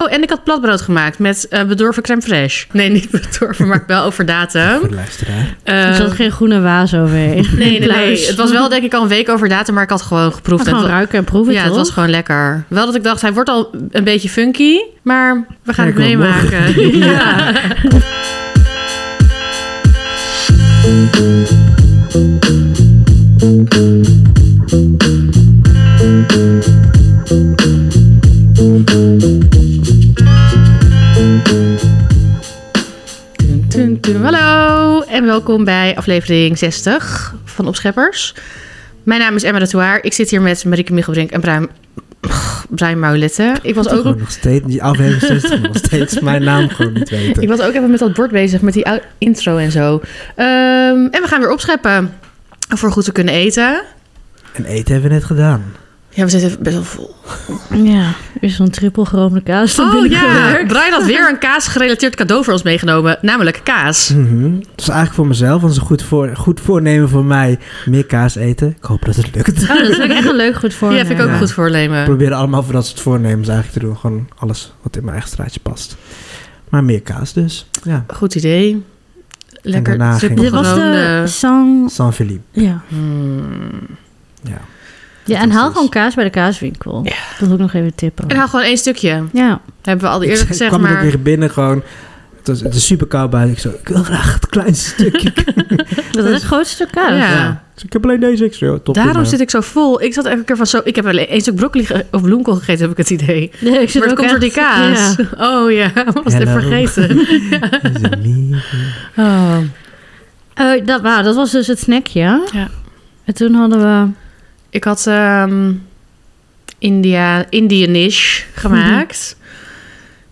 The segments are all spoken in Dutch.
Oh, en ik had platbrood gemaakt met eh, bedorven crème fraîche. Nee, niet bedorven, maar wel over datum. Voor de luisteraar. Eh, Er zat geen groene waas overheen. nee, nee, nee, Pluis. het was wel denk ik al een week over datum, maar ik had gewoon geproefd. en Maar het gewoon wa- ruiken en proeven, ja, toch? het was gewoon lekker. Wel dat ik dacht, hij wordt al een beetje funky, maar we gaan Kijk, het wat meemaken. mooi. ja. Tun, tun, tun. Hallo en welkom bij aflevering 60 van Opscheppers. Mijn naam is Emma Retouaar. Ik zit hier met Marieke Michelbrink en Bruin, Bruin Maulette. Ik was, ook, Gewoon nog steeds, die aflevering 60 nog steeds mijn naam gewoon niet weten. ik was ook even met dat bord bezig, met die ou- intro en zo. Ehm, en we gaan weer opscheppen voor goed te kunnen eten. En eten hebben we net gedaan. Ja, we zitten best wel vol. Ja, weer zo'n trippel geroomde kaas. naar Oh binnen ja, gewerkt. Brian had weer een kaasgerelateerd cadeau voor ons meegenomen, namelijk kaas. Mhm. Dat is eigenlijk voor mezelf, want het is een goed, voor, goed voornemen voor mij. Meer kaas eten. Ik hoop dat het lukt. Oh, dat is ook echt een eh, leuk goed Die voornemen. heb ik ook Ja. goed voornemen. Ik probeer allemaal voor dat soort voornemens eigenlijk te doen. Gewoon alles wat in mijn eigen straatje past. Maar meer kaas dus. Ja. Goed idee. Lekker. daarna trippel ging Dit was gewoon, de eh, sang... San Philippe. Ja. hmm. Ja. ja, en was haal dus- gewoon kaas bij de kaaswinkel. Dat wil ik nog even tippen. En haal gewoon één stukje. Ja, hebben we al eerder Ik gezegd, kwam er ook maar... weer binnen gewoon. Het, was, het is super koud buiten. Ik zo, ik wil graag het kleinste stukje. dat is het grootste stuk kaas. Ja. Dus ik heb alleen deze. Ik zo, joh, top. Daarom prima. zit ik zo vol. Ik zat elke keer van zo... Ik heb alleen één stuk broccoli ge- of bloemkool gegeten, heb ik het idee. Nee, ik zit Maar het ook komt door die echt- kaas. Ja. Oh ja, ik was het Hello. vergeten. Is het niet? Oh. Eh, dat, wauw, dat was dus het snackje. hè? Ja. En toen hadden we... Ik had ehm India, Indianish gemaakt.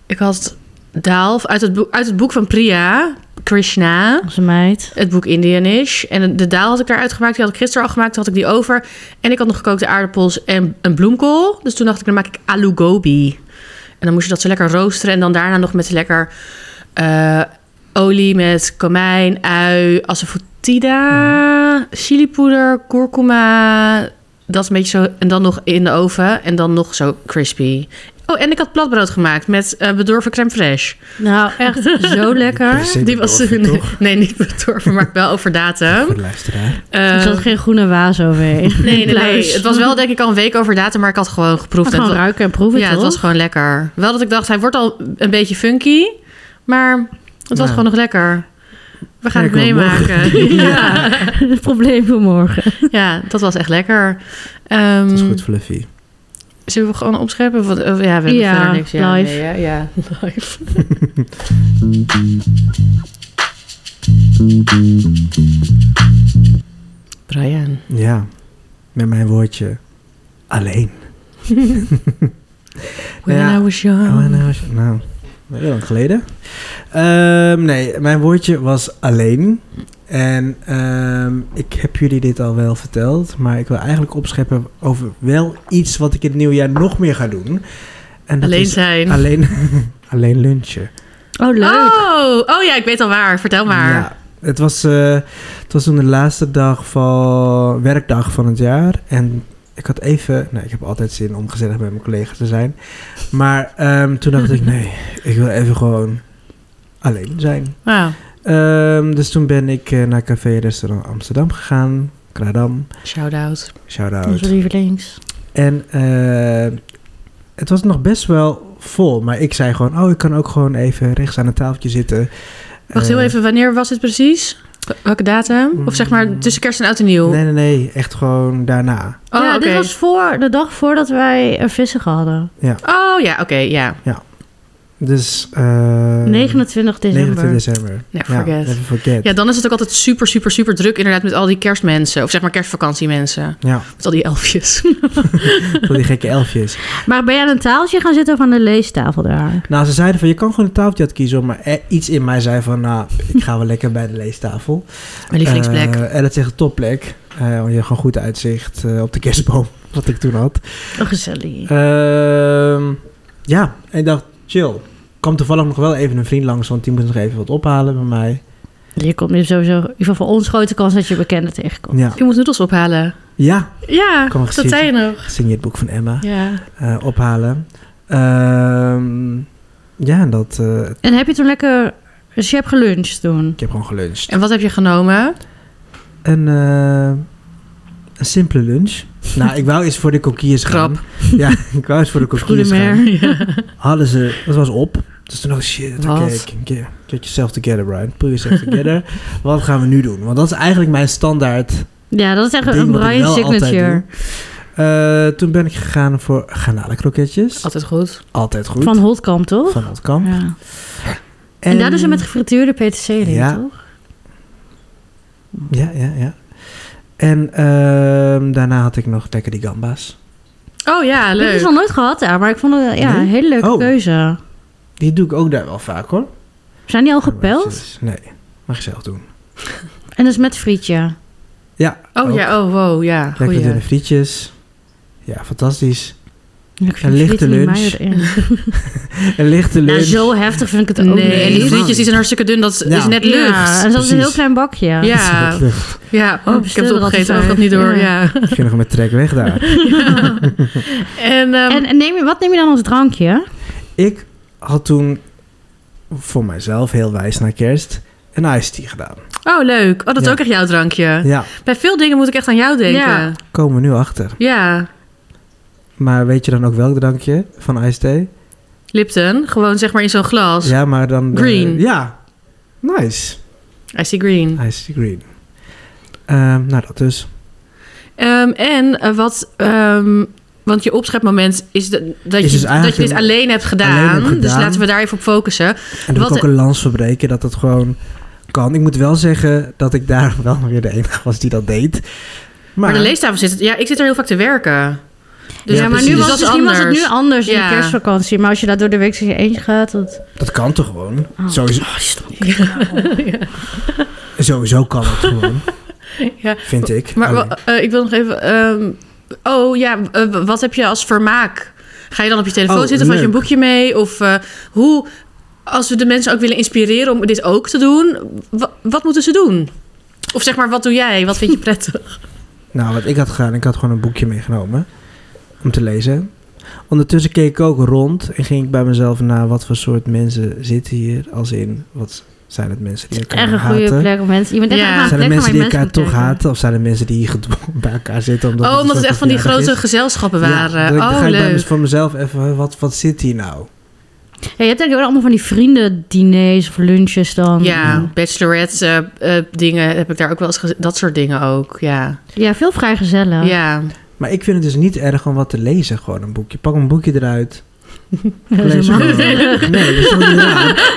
Ik had Daalf uit het, boek, uit het boek van Priya, Krishna. Onze meid. Het boek Indianish. En de daal had ik daaruit gemaakt. Die had ik gisteren al gemaakt. Toen had ik die over. En ik had nog gekookte aardappels en een bloemkool. Dus toen dacht ik, dan maak ik alu gobi. En dan moest je dat zo lekker roosteren. En dan daarna nog met lekker eh, olie met komijn, ui, Mhm. asafotida, chilipoeder, kurkuma. Dat een beetje zo. En dan nog in de oven. En dan nog zo crispy. Oh, en ik had platbrood gemaakt met eh, bedorven crème fraîche. Nou, echt zo lekker. Per se Die was bedorven, nee, toch? nee, niet bedorven, maar wel over datum. Voor de luisteraar. Er Eh, zat geen groene waas overheen. nee, nee, nee. Pluis. Het was wel denk ik al een week over datum, maar ik had gewoon geproefd. Maar en gewoon het wa- ruiken en proeven, ja, het toch? was gewoon lekker. Wel dat ik dacht, hij wordt al een beetje funky, maar het was Nou. gewoon nog lekker. We gaan Kijk, het wat meemaken. ja. Het probleem voor morgen. ja, dat was echt lekker. Ehm, Het is goed fluffy. Zullen we gewoon opscheppen? Want, eh, ja, we hebben Ja, verder niks. live. nee, ja, ja, live. Brian. Ja, met mijn woordje alleen. When Ja. I was young. Oh, nou, als je- nou, heel lang geleden. Ehm, nee, mijn woordje was alleen. En ehm, ik heb jullie dit al wel verteld, maar ik wil eigenlijk opscheppen over wel iets wat ik in het nieuwe jaar nog meer ga doen. En dat Alleen is zijn. alleen, alleen lunchen. Oh, leuk. Oh, oh ja, ik weet al waar. Vertel maar. Ja, het was, eh, het was toen de laatste dag van werkdag van het jaar. En ik had even, nou, ik heb altijd zin om gezellig met mijn collega's te zijn. Maar ehm, toen dacht ik, nee, ik wil even gewoon alleen zijn. Wauw. Ehm, dus toen ben ik eh, naar Café Restaurant Amsterdam gegaan. Kradam, Shout-out. shout out. Onze lievelings. En eh, het was nog best wel vol. Maar ik zei gewoon, oh, ik kan ook gewoon even rechts aan een tafeltje zitten. Wacht heel Eh, even, wanneer was dit precies? Welke datum? Of zeg maar Mm. tussen kerst en oud en nieuw? Nee, nee, nee, echt gewoon daarna. Oh, ja, ja, dit was voor, de dag voordat wij er vissen hadden. Oh ja, oké, ja. Dus... eh 29 december. 29 december. Never forget. Ja, never forget. Ja, dan is het ook altijd super, super, super druk inderdaad met al die kerstmensen. Of zeg maar kerstvakantiemensen. Ja, Met al die elfjes. voor die gekke elfjes. Maar ben jij aan een taaltje gaan zitten of aan de leestafel daar? Nou, ze zeiden van, je kan gewoon een tafeltje uitkiezen. hoor, Maar er- iets in mij zei van, nou, ik ga wel lekker bij de leestafel. Mijn lievelingsplek. Eh, en dat is echt een topplek. Eh, want je hebt gewoon goed uitzicht eh, op de kerstboom, wat ik toen had. Oh, gezellig. Ehm, ja, en ik dacht, chill. Er kwam toevallig nog wel even een vriend langs, want die moest nog even wat ophalen bij mij. Eh, Je komt nu sowieso, in ieder geval voor ons, grote kans dat je bekenden tegenkomt. Ja, Je moet noedels ophalen. ja Ja, Kan wel dat gezien. zei je nog. signeer het boek van Emma. Ja. eh, ophalen. eh, Ehm, Ja, en dat... eh, En heb je toen lekker... Dus je hebt geluncht toen? ik heb gewoon geluncht. En wat heb je genomen? Een, eh, een simpele lunch. nou, ik wou eens voor de kokkiers gaan. Grap. Ja, ik wou eens voor de kokkiers gaan. Goedemiddag. Ja. Hadden ze... Dat was op. Dus toen dacht ik, shit, oké, Wat? get, get yourself together, Brian. Pull yourself together. Wat gaan we nu doen? Want dat is eigenlijk mijn standaard ja, dat is echt ding een wat ik Brian wel altijd signature. doe. Eh, toen ben ik gegaan voor garnalenkroketjes. Altijd goed. Altijd goed. Van Holtkamp, toch? Van het kamp. Ja. En, daar doen ze met gefrituurde peterselie, Ja. toch? Ja, ja, ja. En ehm, daarna had ik nog lekker die gamba's. Oh ja, Ik heb leuk. het nog nooit gehad daar, maar ik vond het ja, Nee? een hele leuke Oh. keuze. Die doe ik ook daar wel vaak hoor. Zijn die al gepeld? Nee, mag je zelf doen. En dat is met frietje. Ja. Oh ook. ja, oh wow, ja. Lekker Goeie. dunne frietjes. Ja, fantastisch. Ja, Ik vind Een lichte friet niet lunch. mij erin. Een lichte Nou, lunch. zo heftig vind ik het Nee, ook niet. en die helemaal frietjes die niet. zijn hartstikke dun, dat is, Ja. is net lucht. Ja, en dat is een Precies. heel klein bakje. Ja. Dat is Ja, Oh, oh, ik heb bestel het er altijd opgegeten, maar ik had bij. niet door. Ja. Ja. Ik ging nog met trek weg daar. En, ehm, En, en neem je, wat neem je dan als drankje? ik had toen voor mijzelf heel wijs na kerst een iced tea gedaan. oh, leuk. Oh, dat is Ja. ook echt jouw drankje. Ja, Bij veel dingen moet ik echt aan jou denken. Ja. Ja. komen we nu achter. Maar weet je dan ook welk drankje van iced tea? Lipton, gewoon zeg maar in zo'n glas. Ja, maar dan... de- Green. ja. Nice. I see green. Iced tea green. Ehm, nou, dat dus. Ehm, en eh, wat... ehm, want je opschepmoment is de- dat, Is je, dus eigenlijk dat je dit een- alleen hebt gedaan. alleen heb Dus gedaan. laten we daar even op focussen. En dat Wat- e- ik ook een lans verbreken, dat het gewoon kan. Ik moet wel zeggen dat ik daar wel weer de enige was die dat deed. Maar, Maar de leestafel zit... Ja, ik zit er heel vaak te werken. Dus Ja, maar nu precies. was, dat is misschien was het nu anders. anders in Ja. de kerstvakantie. Maar als je daar door de week in je eentje gaat... Dat... dat kan toch gewoon? Oh. Sowieso, Ja. sowieso kan het gewoon, vind ik. Maar Alleen- wa- eh, ik wil nog even... ehm, oh ja, eh, wat heb je als vermaak? Ga je dan op je telefoon Oh, zitten of had je een leuk. boekje mee? Of eh, hoe... Als we de mensen ook willen inspireren om dit ook te doen... wa- wat moeten ze doen? Of zeg maar, wat doe jij? Wat vind je prettig? Nou, wat ik had gedaan, ik had gewoon een boekje meegenomen om te lezen. Ondertussen keek ik ook rond en ging ik bij mezelf na wat voor soort mensen zitten hier. Als in, wat zijn het mensen die elkaar Echt een haten? goede plek om mensen... Je bent echt Ja. aan een Zijn plek er waar mensen die je elkaar mensen toch moet kijken. haten? Of zijn er mensen die gedwongen bij elkaar zitten? Omdat oh, een omdat het soort echt van die verjaardag grote is? gezelschappen Ja, waren. dan oh, ga ik bij leuk. mez- voor mezelf even, wat, wat zit hier nou? Ja, je hebt denk ik ook allemaal van die vriendendiners of lunches dan. Ja, bachelorette eh, eh, dingen heb ik daar ook wel eens gezien. Dat soort dingen ook, ja. Ja, veel vrijgezellen. Ja, Maar ik vind het dus niet erg om wat te lezen, gewoon een boekje. Pak een boekje eruit. Dat is Lees helemaal- gewoon. Nee, dat is toch niet raar?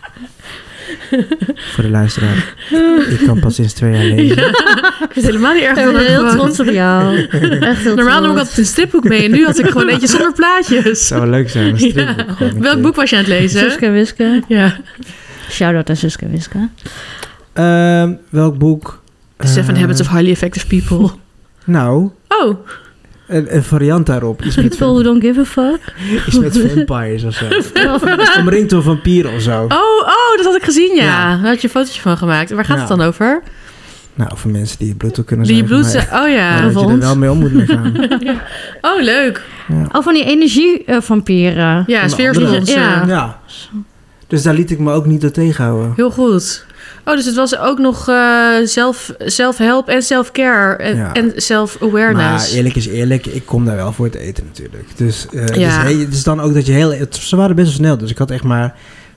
Voor de luisteraar. Ik kan pas sinds twee jaar lezen. ik vind het helemaal niet erg. Ik ben dat ik heel gewoon- trots op jou. Echt Normaal heel trots. nam ik altijd een stripboek mee en nu had ik gewoon eentje zonder plaatjes. zou wel leuk zijn. Een stripboek Ja. gewoon een Welk keer. boek was je aan het lezen? Suske en Wiske. Ja. Shout-out aan Suske en Wiske. Ehm, welk boek? The Seven Eh, Habits of Highly Effective People. Nou, Oh, een, een variant daarop. Iets met, People who don't give a fuck. iets met vampires of zo. Omringd door vampieren of zo. oh, oh, dat had ik gezien, ja. Ja. Daar had je een fotootje van gemaakt. Waar gaat Ja. het dan over? Nou, voor mensen die je bloed ook kunnen Die je zuigen, bloed... maar- Oh ja. maar dat je er Alfons. wel mee om moet mee gaan. Oh, leuk. Oh, van die energievampieren. Ja, Onder sfeerspons. andere. Ja. Ja. Dus daar liet ik me ook niet door tegenhouden. Heel goed. Oh, dus het was ook nog eh, zelf zelfhelp en self-care en, Ja. en Maar self-awareness. eerlijk is eerlijk, ik kom daar wel voor het eten natuurlijk. Dus eh, het Ja. is he- het is dan ook dat je heel... het- ze waren best wel snel, dus ik had echt maar...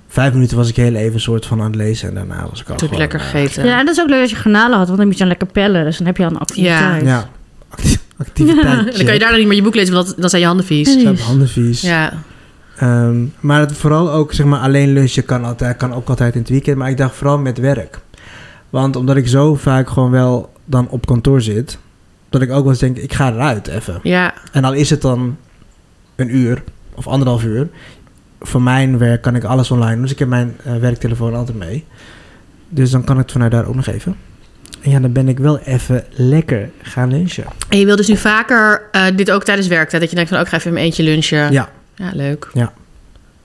Vijf minuten was ik heel even soort van aan het lezen en daarna was ik al Natuurlijk gewoon... lekker eh, gegeten. Ja, en dat is ook leuk als je granalen had, want dan moet je dan lekker pellen. Dus dan heb je al een activiteit. Ja, acti- activiteit. En dan kan je daarna niet meer je boek lezen, want dat- dan zijn je handen vies. Ze hebben handen vies. Ja. Ehm, maar het, vooral ook, zeg maar, alleen lunchen kan, altijd, kan ook altijd in het weekend. Maar ik dacht vooral met werk. Want omdat ik zo vaak gewoon wel dan op kantoor zit... dat ik ook wel eens denk, ik ga eruit even. Ja. En al is het dan een uur of anderhalf uur. Voor mijn werk kan ik alles online doen. Dus ik heb mijn eh, werktelefoon altijd mee. Dus dan kan ik het vanuit daar ook nog even. En ja, dan ben ik wel even lekker gaan lunchen. En je wil dus nu vaker eh, dit ook tijdens werktijd. Dat je denkt van, ook ga even in mijn eentje lunchen. Ja. Ja, leuk. Ja.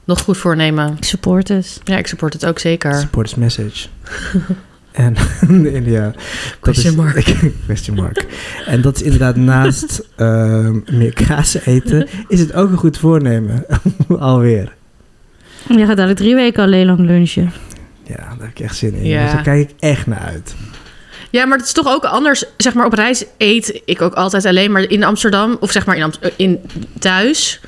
Nog goed voornemen. Ik support het. Ja, ik support het ook zeker. Support is message. En en ja, dat is- Question mark. question mark. En dat is inderdaad naast ehm, meer kaas eten, is het ook een goed voornemen. Alweer. Je gaat dadelijk drie weken alleen lang lunchen. Ja, daar heb ik echt zin in. Ja. Dus daar kijk ik echt naar uit. Ja, maar het is toch ook anders. Zeg maar op reis eet ik ook altijd alleen. Maar in Amsterdam, of zeg maar in, Amst- eh, in thuis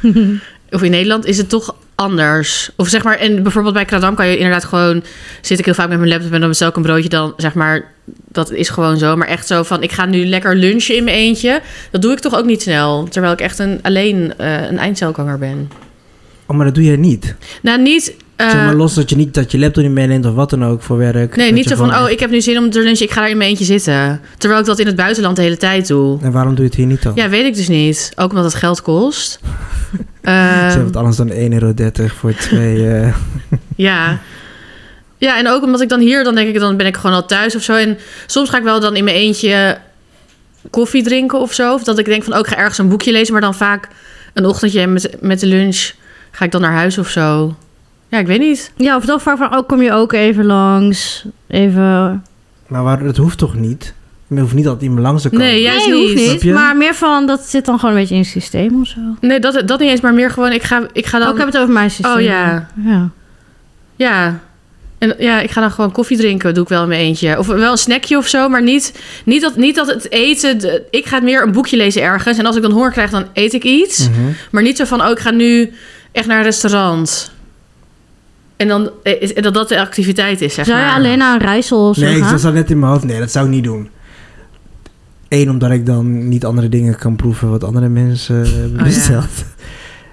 of in Nederland, is het toch anders. Of zeg maar, en bijvoorbeeld bij Kradam kan je inderdaad gewoon. Zit ik heel vaak met mijn laptop en dan bestel ik een broodje. Dan zeg maar, dat is gewoon zo. Maar echt zo van: ik ga nu lekker lunchen in mijn eentje. Dat doe ik toch ook niet snel. Terwijl ik echt een, alleen eh, een eindcelganger ben. Oh, maar dat doe je niet. Nou, niet. eh, zeg maar los dat je niet dat je laptop niet meeneemt of wat dan ook voor werk. nee, Dat niet je zo van: gewoon oh, ik heb nu zin om te lunchen. Ik ga daar in mijn eentje zitten. Terwijl ik dat in het buitenland de hele tijd doe. echt- En waarom doe je het hier niet dan? Ja, weet ik dus niet. Ook omdat het geld kost. Ze Ehm, hebben het anders dan 1,30 euro voor twee. eh, ja. Ja, en ook omdat ik dan hier, dan denk ik, dan ben ik gewoon al thuis of zo. En soms ga ik wel dan in mijn eentje koffie drinken of zo. Of dat ik denk van, oh, ik ga ergens een boekje lezen. Maar dan vaak een ochtendje met, met de lunch ga ik dan naar huis of zo. Ja, ik weet niet. Ja, of dan vaak van, oh, kom je ook even langs. Even... maar waar, dat hoeft toch niet? Je hoeft niet altijd iemand langs te komen. Nee, ja. Juist nee, hoeft niet. niet. Snap je? Maar meer van, dat zit dan gewoon een beetje in het systeem of zo. Nee, dat, dat niet eens, maar meer gewoon, ik ga, ik ga dan... Oh, ik heb het over mijn systeem. Oh, ja. ja. Ja. En ja, ik ga dan gewoon koffie drinken, doe ik wel in mijn eentje. Of wel een snackje of zo, maar niet, niet, dat, niet dat het eten... de- ik ga meer een boekje lezen ergens. En als ik dan honger krijg, dan eet ik iets. Mhm. Maar niet zo van, oh, ik ga nu echt naar een restaurant. En dan, eh, is- dat dat de activiteit is, zeg Zou je maar. alleen naar een rijssel of zo Nee, ik gaan? zat dat net in mijn hoofd. Nee, dat zou ik niet doen. Eén, omdat ik dan niet andere dingen kan proeven wat andere mensen eh, hebben Oh, ja. besteld.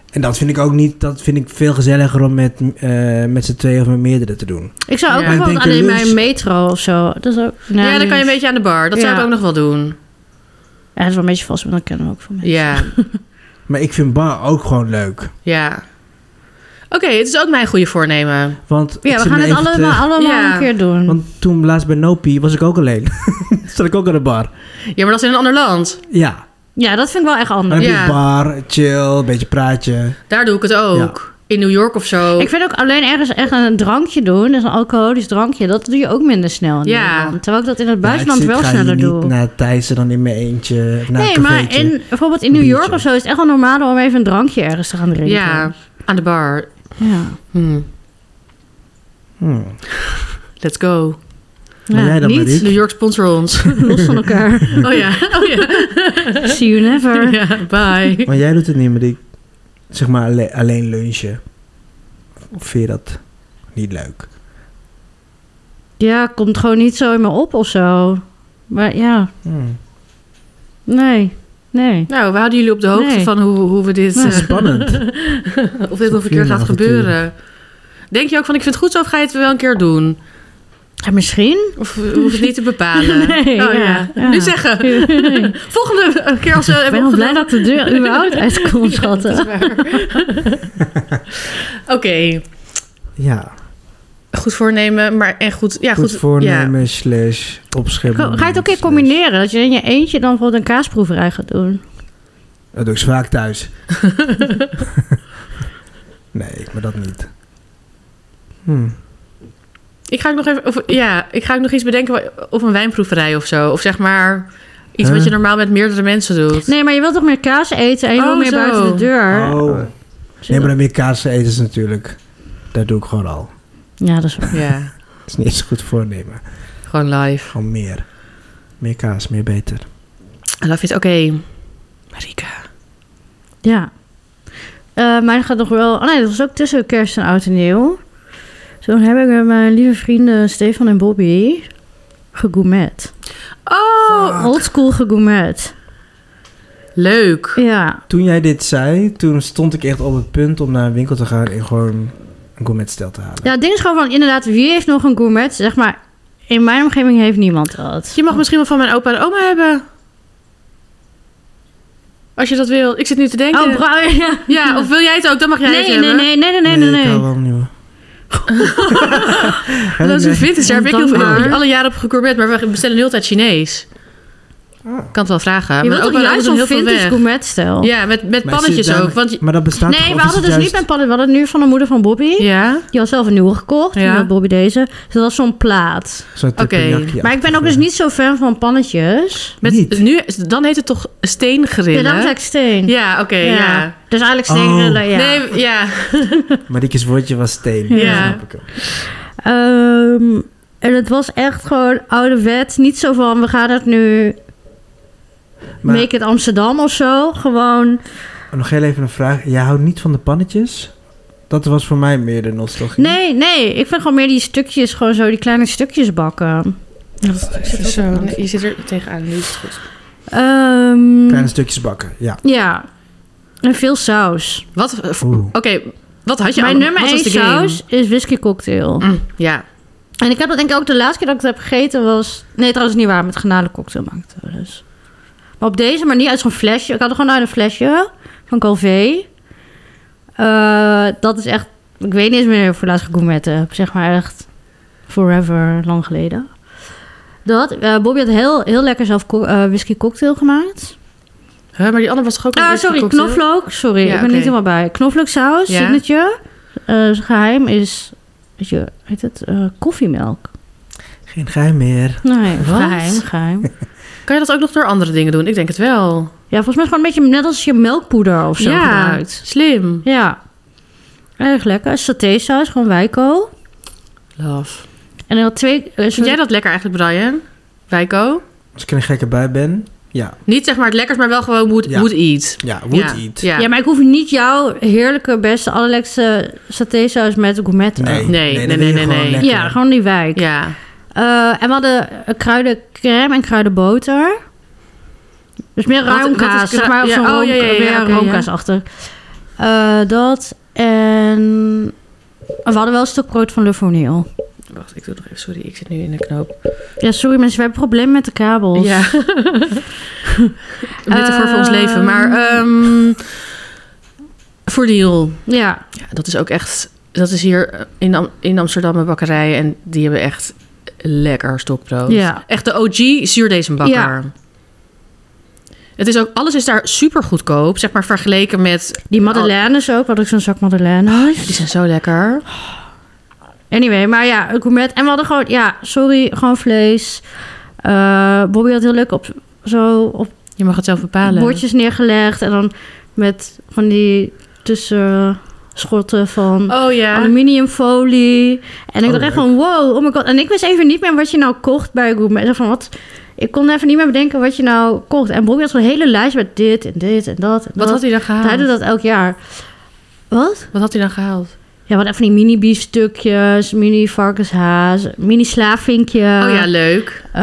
En dat vind ik ook niet, dat vind ik veel gezelliger om met, eh, met z'n tweeën of met meerdere te doen. Ik zou ook Ja. bijvoorbeeld Ik denk alleen een bij lunch. een metro of zo. Dat is ook... Ja, dan kan je een beetje aan de bar. Dat zou dus- Ja. ik ook nog wel doen. Ja, dat is wel een beetje vast, maar dan kennen we ook van mensen. Ja, Maar ik vind bar ook gewoon leuk. ja. Oké, het is ook mijn goede voornemen. Want ik Ja, zit we gaan me het even te- allemaal, allemaal Ja. een keer doen. Want toen laatst bij Nopi was ik ook alleen. Zat ik ook aan de bar. Ja, maar dat is in een ander land. Mm. Ja, Ja, dat vind ik wel echt dan anders. heb je Ja. bar, chill, een beetje praatje. Daar doe ik het ook. In New York of zo. Ik vind ook alleen ergens echt een drankje doen, dus een alcoholisch drankje, dat doe je ook minder snel in Ja. Nederland. Terwijl ik dat in het Ja, ik buitenland zit- wel ga sneller hier doe. niet naar Thijssen dan in mijn eentje. of Naar nee, een maar cafeetje. in, bijvoorbeeld in New Een York biertje. of zo is het echt wel normaal om even een drankje ergens te gaan drinken. ja, aan de bar. ja. Hm. Hmm. Let's go. Maar Ja, jij dan, niet Marieke? New York sponsor ons. los van elkaar. Oh ja, oh ja. See you never. ja bye. Maar jij doet het niet, maar ik zeg maar alle- alleen lunchen. Of vind je dat niet leuk? Ja, komt gewoon niet zo in me op of zo. Maar ja, Hmm. nee, nee. Nou, we houden jullie op de hoogte Nee. van hoe, hoe we dit... eh, Spannend. of dit nog een keer Prima gaat avontuur. gebeuren. Denk je ook van, ik vind het goed zo of ga je het wel een keer doen? Ja, misschien? Of eh, hoef je het niet te bepalen? Nee, oh, ja. ja, ja. Nu zeggen. Volgende keer als we Ik ben hebben wel blij opgedaan. dat de deur überhaupt uitkomt, Dat is schatten. waar. Oké, ja, goed voornemen, maar en goed... Ja, goed, goed, voornemen slash opschrift. Ga je het ook een keer combineren? Dat je in je eentje dan bijvoorbeeld een kaasproeverij gaat doen? Dat doe ik vaak thuis. nee, maar dat niet. Hmm. Ik ga ook nog even, of, ja, ik ga ook nog iets bedenken wa- op een wijnproeverij of zo. Of zeg maar iets wat Huh? je normaal met meerdere mensen doet. Nee, maar je wilt toch meer kaas eten en je Oh, wil meer zo. buiten de deur. Oh. Nee, maar dan meer kaas eten is natuurlijk. Dat doe ik gewoon al. Ja, dat is waar. Ja, Dat is niet eens goed voornemen. gewoon live. Gewoon meer. Meer kaas, meer beter. I love it. Oké, Marika. Ja. Eh mijn gaat nog wel... Oh nee, dat was ook tussen kerst en oud en nieuw. Toen heb ik met mijn lieve vrienden Stefan en Bobby gegoumet. Ah, Oh, Oldschool gegoumet. leuk. Ja. Toen jij dit zei, toen stond ik echt op het punt om naar een winkel te gaan en gewoon een gourmetstel te halen. ja, het ding is gewoon van inderdaad, wie heeft nog een gourmet? Zeg maar, in mijn omgeving heeft niemand dat. Je mag misschien wel van mijn opa en oma hebben. Als je dat wil. Ik zit nu te denken. Oh, bra- ja. ja, of wil jij het ook? Dan mag jij Nee, het nee, hebben. nee, nee, nee, nee, nee, ik hou nee. wel nieuwe. Dat is een vintage. Daar heb ik heel veel Dankbaar. alle jaren op gecourbeerd. Maar we bestellen de hele tijd Chinees. Ik Oh. kan het wel vragen. maar je wilt ook toch wel juist doen zo'n heel veel vintage weg. gourmetstijl? Ja, met, met Maar is pannetjes dit dan- ook. Want, Maar dat bestaat toch? Nee, we of is hadden het dus niet juist- met pannen. We hadden het nu van de moeder van Bobby. ja, Die had zelf een nieuwe gekocht. Ja. En had Bobby deze. Dus dat was zo'n plaat. Zo'n Oké, teppanyaki-achtig, Maar ik ben ook dus eh. niet zo fan van pannetjes. met, Niet. Nu, dan heet het toch Ja, steengrillen? daarom zei ik steen. Ja, oké, ja. Dus eigenlijk Oh. steengrillen, ja. Nee, ja. Marieke's woordje was steen. Ja. Snap ik ook. Ehm, en het was echt gewoon ouderwet. Niet zo van, we gaan het nu Maar make it Amsterdam of zo. Gewoon, nog heel even een vraag. Jij houdt niet van de pannetjes? Dat was voor mij meer de nostalgie. nee, nee. Ik vind gewoon meer die stukjes, gewoon zo die kleine stukjes bakken. Zo, je zit er tegenaan, nu is het goed. Ehm, Kleine stukjes bakken, ja. ja. En veel saus. Wat, eh, v- Oeh. oké, wat had je Mijn allemaal- nummer Dus wat was 1 de game? saus is whisky cocktail. Mm, ja, En ik heb dat denk ik ook de laatste keer dat ik het heb gegeten was... Nee, trouwens niet waar. Met garnalencocktail maak ik het wel eens. Maar op deze manier uit zo'n flesje. Ik had het gewoon uit een flesje van Calvé. Eh, dat is echt... Ik weet niet eens meer voor laatst gegourmet heb. Zeg maar echt forever, lang geleden. Dat, eh, Bobby had heel, heel lekker zelf ko- eh, whisky cocktail gemaakt. Huh, maar die andere was toch ook een Ah, whisky sorry, cocktail? knoflook. Sorry, Ja, ik ben oké. niet helemaal bij. Knoflooksaus, Ja. signature. Eh, geheim is... Weet je, heet het? eh, koffiemelk. Geen geheim meer. Nee, Wat? geheim, geheim. Kan je dat ook nog door andere dingen doen? Ik denk het wel. Ja, volgens mij is het gewoon een beetje net als je melkpoeder of zo ja, gebruikt. slim. Ja. Erg lekker. Satésaus, gewoon wijkool. Love. En dan twee... eh, Vind jij dat lekker eigenlijk, Brian? Wijko? Als ik er een gekke bij ben, ja. Niet zeg maar het lekkers, maar wel gewoon would, Ja. would eat. Ja, would ja. eat. Ja. Ja, maar ik hoef niet jouw heerlijke, beste, allerlekste satésaus met gourmet. Nee, Nee, nee, dan nee, wil je nee, gewoon nee. lekker. Ja, gewoon die wijk. Ja. Eh, en we hadden eh, kruidencrème en kruidenboter. Dus meer Wat- wat is roomkaas, zeg kru- maar. Of ja, zo'n oh, room- ja, ja, ja, meer oké, ja. roomkaas achter. Eh, dat en... en We hadden wel een stuk brood van Le Fournil. Wacht, ik doe nog even. Sorry, ik zit nu in de knoop. Ja, sorry mensen, we hebben problemen met de kabels. Ja. Metafoor voor ons Ehm. leven. Maar ehm voor deal. Ja, Ja, dat is ook echt... Dat is hier in, Am- in Amsterdam een bakkerij. En die hebben echt lekker stokbrood. Ja. Echt de OG zuurdezenbakker. Ja. Het is ook, alles is daar super goedkoop. Zeg maar vergeleken met... die madeleines ook. Had ik zo'n zak madeleines. Die zijn zo lekker. Anyway, maar ja, een gourmet. En we hadden gewoon, ja, sorry, gewoon vlees. Eh, Bobby had heel leuk op, zo op Je mag het zelf bepalen. bordjes neergelegd. En dan met van die tussenschotten van Oh ja. aluminiumfolie. En ik Oh, dacht echt leuk. van, wow, oh my god. En ik wist even niet meer wat je nou kocht bij Gourmet. Zo Van, wat, ik kon even niet meer bedenken wat je nou kocht. En Bobby had zo'n hele lijst met dit en dit en dat. En Wat dat. had hij dan gehaald? Hij doet dat elk jaar. Wat? Wat had hij dan gehaald? Ja, wat even die mini biefstukjes, mini varkenshaas, mini slaavinkje. oh ja, leuk. eh,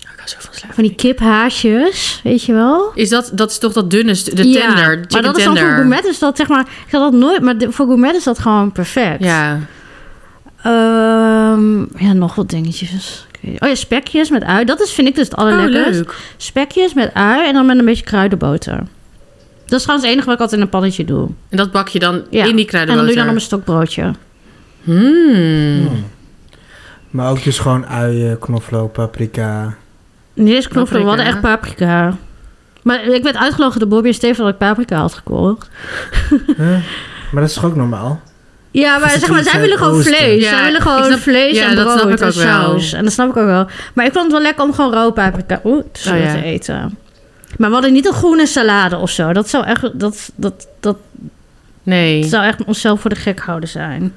Ik hou zo van slaap. van die kiphaasjes, weet je wel? Is dat, dat is toch dat dunne, stu- de Ja, tender, chicken Maar dat is dan tender. voor gourmet is dat zeg maar... Ik had dat nooit... Maar de- voor gourmet is dat gewoon perfect. Ja, Ehm, ja, nog wat dingetjes. Ik weet niet. Oh ja, spekjes met ui. Dat is, vind ik dus het Oh, allerlekkerst. Spekjes met ui en dan met een beetje kruidenboter. Dat is trouwens het enige wat ik altijd in een pannetje doe. En dat bak je dan Ja. in die En dan kruidenboter. doe je dan op een stokbroodje. Hmm. Maar ook dus gewoon uien, knoflook, paprika. Nee, dit is knoflook. We Paprika. hadden echt paprika. Maar ik werd uitgelachen door Bobby en Steven dat ik paprika had gekocht. Huh? Maar dat is toch ook normaal? Ja, maar Is het zeg maar, iets zij uit willen gewoon Oosten? vlees. Ja, zij willen gewoon ik snap- vlees ja, en dat brood snap ik en ook wel. saus. En dat snap ik ook wel. Maar ik vond het wel lekker om gewoon rauw paprika oeh, tussen Oh, ja. te eten. Maar we hadden niet een groene salade of zo. Dat zou echt, dat, dat, dat Nee. zou echt onszelf voor de gek houden zijn.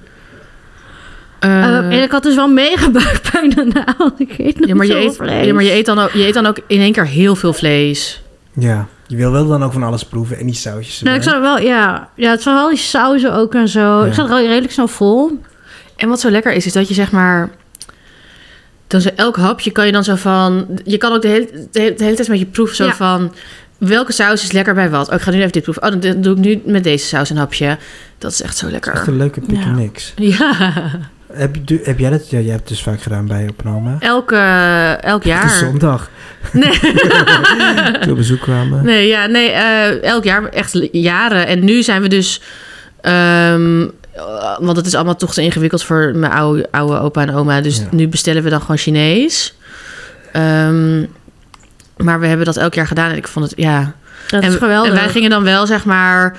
Eh, Eh, en ik had dus wel mega buikpijn daarna. want ik eet nog ja, maar je zoveel eet, vlees. ja, maar je eet, dan ook, je eet dan ook in één keer heel veel vlees. Ja. Je wil wel dan ook van alles proeven en die sausjes. dus Nou, ik erbij. zat er wel, ja. Ja, het was wel die sauzen ook en zo. Ja. Ik zat er wel redelijk snel vol. En wat zo lekker is, is dat je zeg maar... Dan zo elk hapje kan je dan zo van... Je kan ook de hele, de hele, de hele tijd met je proef zo Ja. van... Welke saus is lekker bij wat? Oh, ik ga nu even dit proeven. Oh, dan doe ik nu met deze saus een hapje. Dat is echt zo lekker. Echt een leuke picknicks. Ja, Heb, je- doe- heb jij dat? Ja, jij hebt het dus vaak gedaan bij Opnoma. elk, elk Het is jaar. zondag. Nee. Toen we op bezoek kwamen. Nee, ja, nee eh, elk jaar, echt l- jaren. En nu zijn we dus... ehm, eh, want het is allemaal toch te ingewikkeld voor mijn oude, oude opa en oma. Dus Ja. nu bestellen we dan gewoon Chinees. Ehm, Maar we hebben dat elk jaar gedaan en ik vond het, ja... Dat en, is geweldig. En wij gingen dan wel, zeg maar,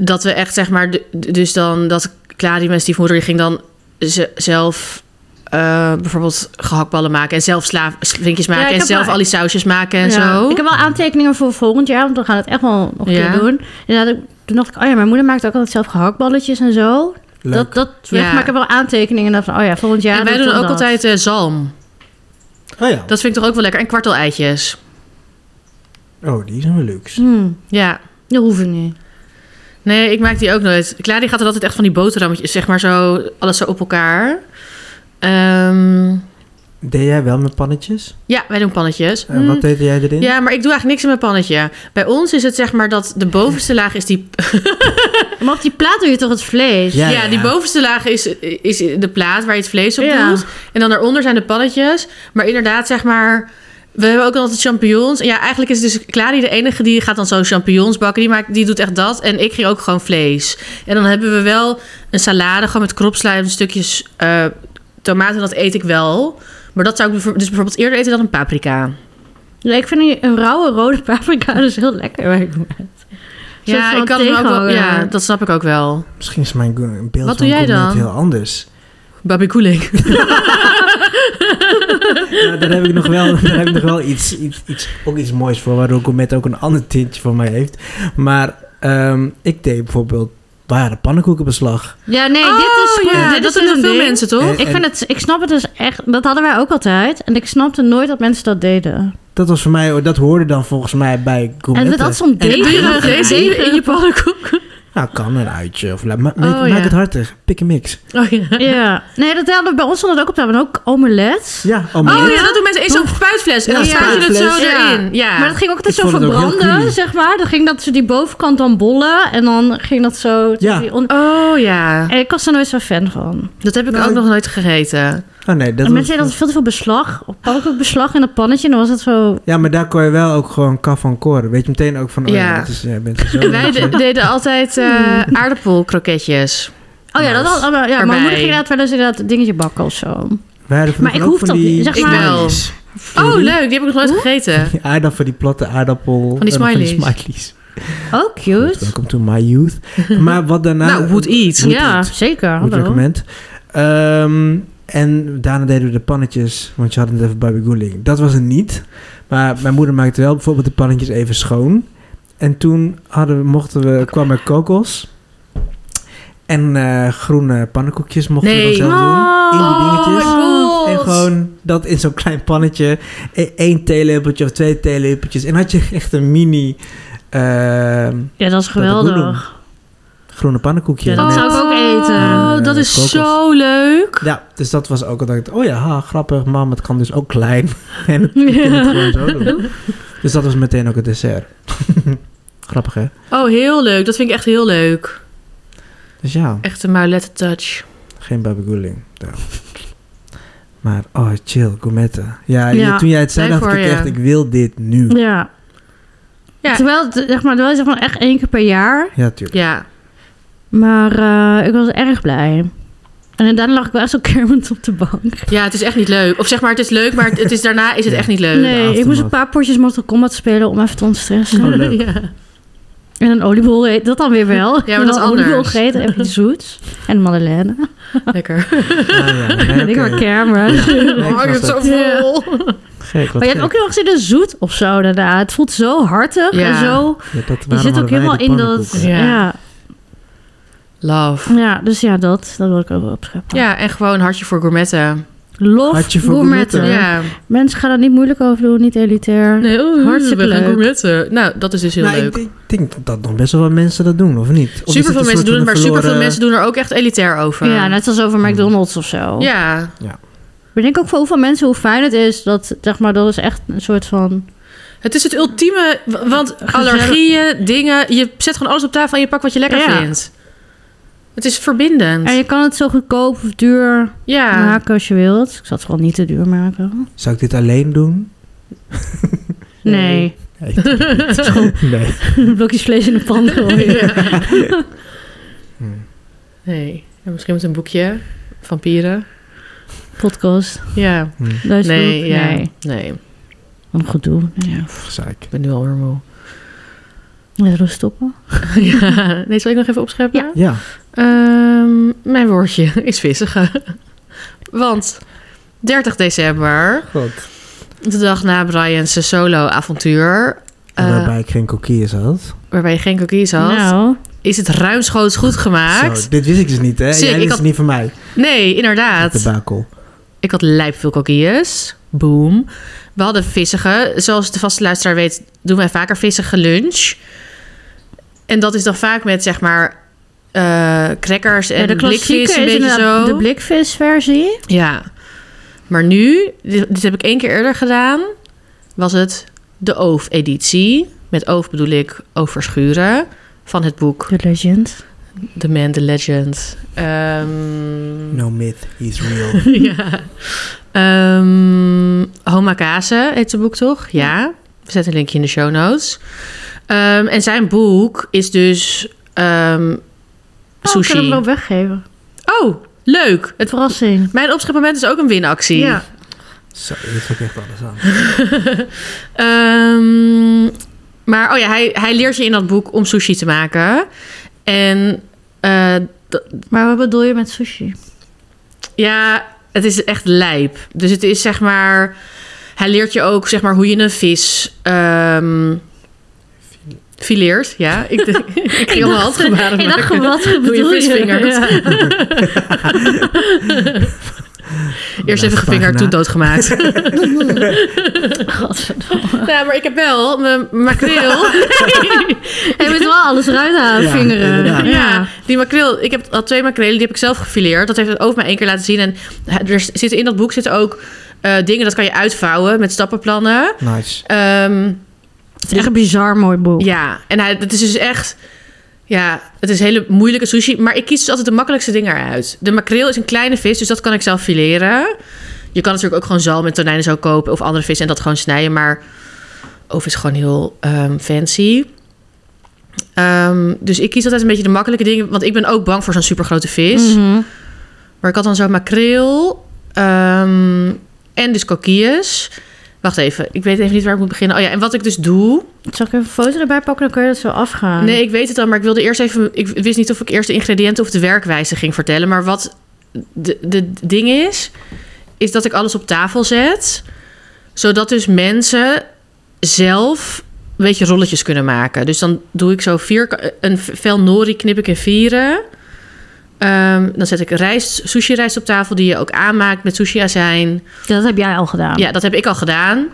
dat we echt, zeg maar, d- d- dus dan dat Claudia, mijn stiefmoeder, die ging dan ze- zelf eh, bijvoorbeeld gehaktballen maken en zelf sla- vinkjes maken ik en heb zelf wel- al die sausjes maken en Ja. zo. Ik heb wel aantekeningen voor volgend jaar, want we gaan het echt wel nog een Ja. keer doen. Inderdaad, ik- toen dacht ik, oh ja, mijn moeder maakt ook altijd zelf gehaktballetjes en zo. Leuk. Dat, dat Ja. weg, maar ik heb wel aantekeningen en dacht van, oh ja, volgend jaar en wij doet doen ook dat. altijd eh, zalm. Oh ja. Dat vind ik toch ook wel lekker. En kwartel-eitjes. Oh, die zijn wel luxe. Hmm, Ja. dat hoef ik niet. Nee, ik maak die ook nooit. Claudia gaat er altijd echt van die boterhammetjes, zeg maar zo, alles zo op elkaar. Ehm, Deed jij wel met pannetjes? ja, wij doen pannetjes. En wat deed jij erin? Hmm. Ja, maar ik doe eigenlijk niks in mijn pannetje. Bij ons is het zeg maar dat de bovenste laag is die Maar op die plaat doe je toch het vlees? Ja, Ja, ja, die ja. bovenste laag is, is de plaat waar je het vlees op Ja. doet. En dan daaronder zijn de pannetjes. Maar inderdaad, zeg maar... We hebben ook altijd champignons. En ja, eigenlijk is dus Clary de enige die gaat dan zo champignons bakken. Die, maakt, die doet echt dat. En ik ging ook gewoon vlees. En dan hebben we wel een salade, gewoon met kropslijm, stukjes eh, tomaten. Dat eet ik wel. Maar dat zou ik bijvoor- dus bijvoorbeeld eerder eten dan een paprika. Ja, ik vind die- een rauwe rode paprika dus heel lekker. waar ik mee eet. Soort Ja, van ik kan hem ook wel, tegenhouden. ja, dat snap ik ook wel. Misschien is mijn go- beeld Wat van doe jij gourmet dan? heel anders. Babi koeling. Ja, daar heb ik nog wel, daar heb ik nog wel iets, iets, iets, ook iets moois voor, waardoor gourmet ook een ander tintje voor mij heeft. Maar ehm, ik deed bijvoorbeeld, waar de pannenkoekenbeslag. Oh, Ja, nee, dit is goed. Oh, ja, dit dat is doen een veel ding. mensen, toch? En- Ik, vind het, ik snap het dus echt. Dat hadden wij ook altijd. En ik snapte nooit dat mensen dat deden. Dat was voor mij, oh, dat hoorde dan volgens mij bij en gourmet. dat had zo'n En degen. doe je dan deze in je pannenkoek? Nou, kan een uitje. Of, la- ma- Oh, maak, maak ja. het hartig. Pik en mix. Eh, Oh ja. Ja. Nee, dat hadden we bij ons stond het ook op tafel. En ook omelet. Ja, oh, maar- Oh ja, dat doen mensen in zo'n spuitfles. En Ja, dan spuit je het zo spuitfles. Ja. erin. Ja. Maar dat ging ook altijd Ik zo vond het ook heel creamy. verbranden, zeg maar. Dan ging dat ze die bovenkant dan bollen. En dan ging dat zo... Ja. die on- Oh ja, En ik was er nooit zo'n fan van. dat heb ik Nou, ook ik- nog nooit gegeten. Oh, nee, dat en was, mensen deden altijd veel te veel beslag. Of pannenkoekbeslag in dat pannetje. En dan was het zo... Ja, maar daar kon je wel ook gewoon kaf van koren. Weet je meteen ook van, oh ja, Ja. dat Hmm. is, jij bent er zo. En wij de- deden altijd eh aardappelkroketjes. Oh ja, dat Nice. had, ja mijn Erbij. moeder ging inderdaad wel eens inderdaad een dingetje bakken of zo. Wij hadden Maar ik vroeger ook hoef van dat die niet, zeg maar. Ik wel. smileys. Oh leuk, die heb ik nog nooit gegeten. Die aardappel, van die platte aardappel. Van die en dan smileys. smileys. Oh, Goed, cute. Welcome to my youth. Maar wat daarna... nou, would eat. Goed, Ja, goed. zeker. Goed hallo. recommend. Ehm, en daarna deden we de pannetjes, want je had het even Barbie Goeling. Dat was het niet. Maar mijn moeder maakte wel bijvoorbeeld de pannetjes even schoon. En toen hadden, we- mochten we, kwam er kokos. En eh, groene pannenkoekjes mochten Nee. we dan zelf doen. In die Oh my dingetjes. god. En gewoon dat in zo'n klein pannetje. E- één theelepeltje of twee theelepeltjes. En had je echt een mini ehm, Ja, dat is Goeling. geweldig. groene pannenkoekje. Ja, dat Met- zou ik ook eten. Oh, dat Eh, is kokos. zo leuk. Ja, dus dat was ook al dat ik dacht, oh ja, ha, grappig, mam, het kan dus ook klein. en het, je kunt het gewoon zo doen. Dus dat was meteen ook het dessert. grappig, hè? Oh, heel leuk. Dat vind ik echt heel leuk. Dus ja, Echt een maulette touch. geen babygooling. Maar, oh, chill, gourmetten. Ja, je- Ja, toen jij het zei, blij dacht ik voor je. echt, ik wil dit nu. Ja. Ja. Terwijl, het, zeg maar, wel zeg maar echt één keer per jaar. Ja, tuurlijk. Ja. Maar eh, ik was erg blij. En daarna lag ik wel echt zo kermend op de bank. ja, het is echt niet leuk. Of zeg maar, het is leuk, maar het- het is, daarna is het Ja. echt niet leuk. Nee, ik moest aftermath. een paar potjes Mortal Kombat spelen om even te ontstressen. Oh, leuk. Ja. En een oliebol eet dat dan weer wel. Ja, maar dat is Een oliebol anders. gegeten, even iets zoets. En een madeleine. Lekker. Ah, ja, nee, En ik oké. maar kermen. Ja. Nee, ik Oh, snap ik heb het. zo vol. Gek, wat Maar je hebt gek. ook nog eens in een zoet of zo inderdaad. Het voelt zo hartig Ja. en zo. Ja, dat, Je waarom zit hadden ook wij helemaal die in dat... pannenkoeken? Ja. Ja. Ja. Love. dus ja, dat, dat wil ik ook wel opscheppen. Ja, en gewoon hartje voor gourmetten. Lof, Hartje voor gourmetten. gourmetten. Ja. Mensen gaan er niet moeilijk over doen, niet elitair. eh, Nee, oh, Hartstikke we gaan leuk. gourmetten. Nou, dat is dus heel Nou, ik, leuk. denk- ik denk dat nog best wel wat mensen dat doen, of niet? Of is Super het veel een mensen soort doen het, van maar een super veel verloren- mensen doen er ook echt elitair over. Ja, nou, net als over McDonald's of zo. Hmm. Ja. Maar ik denk ook voor hoeveel mensen hoe fijn het is. Dat, zeg maar, dat is echt een soort van... Het is het ultieme, w- want allergieën, dingen, je zet gewoon alles op tafel en je pakt wat je lekker Ja. vindt. Het is verbindend. En je kan het zo goedkoop of duur Ja. maken als je wilt. Ik zal het gewoon niet te duur maken. Zou ik dit alleen doen? Nee, Nee. nee. blokjes vlees in de pan gooien. Nee. En misschien met een boekje. Vampieren. Podcast. Ja. Hmm. Luisterboek. Nee, ja. nee. Nee. Wat een gedoe. Nee, Ja. Pff, Gezeik. Ik ben nu al weer moe. Laten we stoppen. ja. Nee, zal ik nog even opscheppen? Ja. Ja, Ehm, mijn woordje is vissige. Want 30 december, goed. de dag na Brian's solo-avontuur, eh, waarbij ik geen kokkies had. waarbij je geen cookies had, Nou, is het ruimschoots goed gemaakt. Zo, dit wist ik dus niet, hè? Zie, Jij ik wist had- het niet van mij. Nee, inderdaad. De bakel. Ik had lijp veel kokkies. Boom. We hadden vissige. Zoals de vaste luisteraar weet, doen wij vaker vissige lunch. En dat is dan vaak met, zeg maar, eh crackers en ja, de blikvis. klassieke Een is beetje inderdaad zo. de blikvisversie. Ja. Maar nu, dit, dit heb ik één keer eerder gedaan, was het de OOF-editie. Met OOF bedoel ik overschuren van het boek The Legend. The Man, The Legend. Ehm, No myth, he's real. ja. Ehm Homakase heet het boek toch? Ja. We zetten een linkje in de show notes. Ehm, en zijn boek is dus ehm, Oh, we kunnen sushi. hem Oh, wel weggeven. leuk. Het verrassing. Mijn opschepmoment is ook een winactie. Ja. Zo, dit vind ik echt alles aan. Ehm, maar oh ja, hij, hij leert je in dat boek om sushi te maken. En eh, Maar wat bedoel je met sushi? ja, het is echt lijp. Dus het is zeg maar. Hij leert je ook zeg maar hoe je een vis. ehm fileert. Ja, ik, ik, ik ging allemaal handgebaren Ik dacht, maken. wat Hoe bedoel je je? visvingert. Ja. Eerst even Laatste gevingerd, pagina. toen doodgemaakt. Godverdomme. nou, maar ik heb wel mijn makreel. Hij moet wel alles eruit halen, Ja, vingeren. inderdaad. Ja. die makreel. Ik heb al twee makrelen, die heb ik zelf gefileerd. Dat heeft het over mij één keer laten zien. En er zitten in dat boek zitten ook eh, dingen, dat kan je uitvouwen met stappenplannen. Nice. Ehm, Het is echt een bizar mooi boek. ja, en hij, het is dus echt... Ja, het is hele moeilijke sushi. Maar ik kies dus altijd de makkelijkste dingen eruit. De makreel is een kleine vis, dus dat kan ik zelf fileren. Je kan natuurlijk ook gewoon zalm en tonijn en zo kopen... of andere vis en dat gewoon snijden. Maar of is gewoon heel ehm, fancy. Ehm, dus ik kies altijd een beetje de makkelijke dingen... want ik ben ook bang voor zo'n supergrote vis. Mhm. Maar ik had dan zo makreel ehm, en dus kokkies. Wacht even, ik weet even niet waar ik moet beginnen. Oh ja, en wat ik dus doe... Zal ik even een foto erbij pakken? Dan kun je dat zo afgaan. Nee, ik weet het al, maar ik wilde eerst even. Ik wist niet of ik eerst de ingrediënten of de werkwijze ging vertellen. Maar wat de, de ding is, is dat ik alles op tafel zet. Zodat dus mensen zelf een beetje rolletjes kunnen maken. Dus dan doe ik zo vier. Een vel nori knip ik in vieren. Ehm, dan zet ik rijst, sushi rijst op tafel die je ook aanmaakt met sushi azijn. Dat heb jij al gedaan. Ja, dat heb ik al gedaan.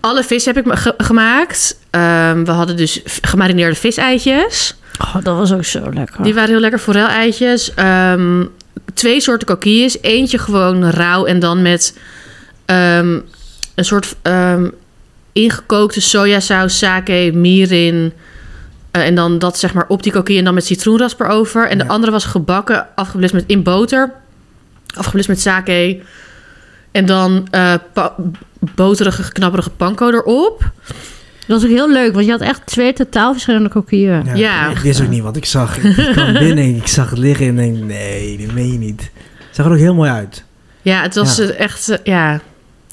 Alle vis heb ik me- ge- gemaakt. Ehm, we hadden dus v- gemarineerde viseitjes. Oh, dat was ook zo Ah. lekker. Die waren heel lekker forel-eitjes. Ehm, twee soorten kokkies. Eentje gewoon rauw en dan met ehm, een soort ehm, ingekookte sojasaus, sake, mirin. Eh, en dan dat zeg maar op die kokkie en dan met citroenrasper over. En de Ja. andere was gebakken, afgeblust met in boter. Afgeblust met sake. En dan eh, pa- boterige, knapperige panko erop. Dat was ook heel leuk, want je had echt twee totaal verschillende kokieën. Ja. Ik wist ook niet wat ik zag. Ik kwam binnen en ik zag het liggen en denk, nee, dat meen je niet. Het zag er ook heel mooi uit. Ja, het was Ja. eh, echt... eh, ja.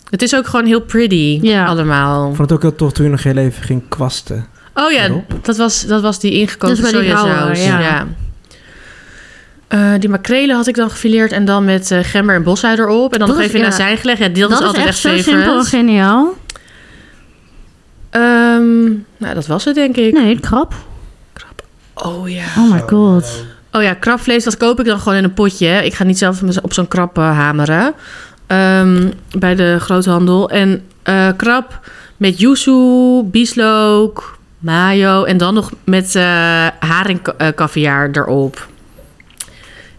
Het is ook gewoon heel pretty Ja. allemaal. Ik vond het ook heel tof toen je nog heel even ging kwasten. Oh ja, Erop. dat was, dat was die ingekookte Dat is wel die sojasaus. ja. rauwe, ja. Eh, die makrelen had ik dan gefileerd en dan met eh, gember en bosui erop. En dan Dat nog is- even in ja. azijn gelegd. Ja, dat, dat is is altijd echt echt zo simpel en favorite. geniaal. Ehm, nou, dat was het denk ik. Nee, krap. Oh ja. Oh my eh, god. Oh ja, krabvlees, dat koop ik dan gewoon in een potje. hè. Ik ga niet zelf op zo'n krab eh, hameren. Ehm, bij de groothandel. En eh, krab met yuzu, bieslook, mayo. En dan nog met eh haringkaviaar erop.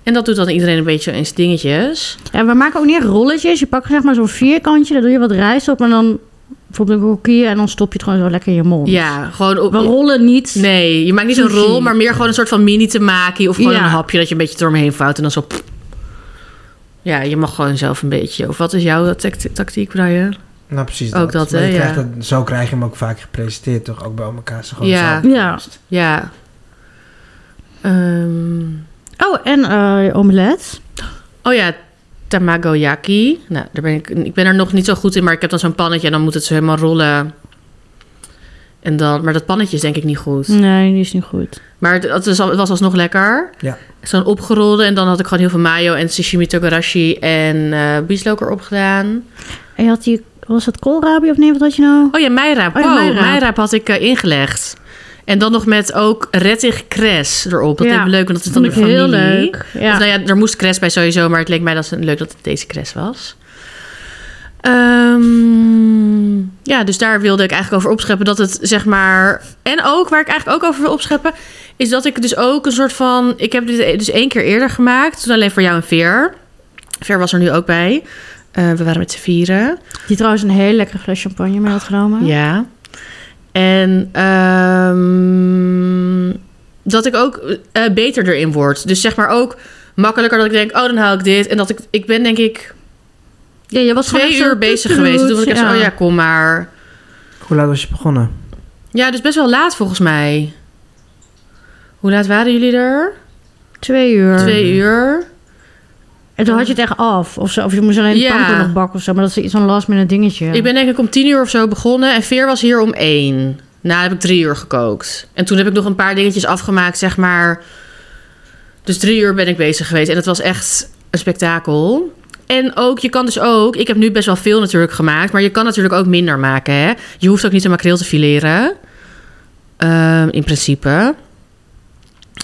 En dat doet dan iedereen een beetje in zijn dingetjes. En we maken ook niet echt rolletjes. Je pakt zeg maar zo'n vierkantje, daar doe je wat rijst op en dan bijvoorbeeld een kokieën en dan stop je het gewoon zo lekker in je mond. Ja, gewoon op... We rollen niet. Nee, je maakt niet zo'n Sushi. rol, maar meer gewoon een soort van mini temaki. Of gewoon Ja. een hapje dat je een beetje door me heen vouwt en dan zo... Ja, je mag gewoon zelf een beetje. Of wat is jouw tact- tactiek, Brian? Nou, precies Ook dat, Maar hè, je ja. krijgt dat- Zo krijg je hem ook vaak gepresenteerd, toch? Ook bij elkaar. Zo gewoon Ja. zo. Ja. Ja. Ehm, Oh, en eh omelet. oh ja, tamagoyaki. Nou, daar ben ik, ik ben er nog niet zo goed in, maar ik heb dan zo'n pannetje en dan moet het zo helemaal rollen. En dan, maar dat pannetje is denk ik niet goed. Nee, die is niet goed. Maar het, het was al- het was alsnog lekker. Ja. Zo'n opgerolde en dan had ik gewoon heel veel mayo en sashimi togarashi en eh bieslook erop gedaan. En je had die, was het koolrabi of nee, wat had je nou? Oh ja, meiraap. Oh Oh, ja, meiraap. meiraap had ik eh, ingelegd. En dan nog met ook rettig kres erop. Dat Ja, leek me leuk, want dat is dan de familie. heel leuk. Of Ja. nou ja, er moest kres bij sowieso, maar het leek mij dat het leuk dat het deze kres was. Ehm, ja, dus daar wilde ik eigenlijk over opscheppen. Dat het zeg maar. En ook waar ik eigenlijk ook over wil opscheppen. Is dat ik dus ook een soort van. Ik heb dit dus één keer eerder gemaakt. Toen alleen voor jou en Veer. Veer was er nu ook bij. Eh, we waren met z'n vieren. Die trouwens een heel lekkere fles champagne mee had genomen. Ja. En ehm, dat ik ook eh, beter erin word. Dus zeg maar ook makkelijker dat ik denk, oh, dan haal ik dit. En dat ik, ik ben denk ik Ja, je was gewoon twee echt zo uur bezig toet, geweest. toet, Toen was ik echt zo, oh ja, kom maar. Hoe laat was je begonnen? Ja, dus best wel laat volgens mij. Hoe laat waren jullie er? Twee uur. Twee uur. En toen had je het echt af. Of, zo, of je moest alleen de Ja. panko nog bakken of zo. Maar dat is zo'n last minute dingetje. Ik ben denk ik om tien uur of zo begonnen. En Veer was hier om één. Nou, heb ik drie uur gekookt. En toen heb ik nog een paar dingetjes afgemaakt, zeg maar. Dus drie uur ben ik bezig geweest. En het was echt een spektakel. En ook, je kan dus ook... Ik heb nu best wel veel natuurlijk gemaakt. Maar je kan natuurlijk ook minder maken, hè. Je hoeft ook niet een makreel te fileren. Ehm, in principe.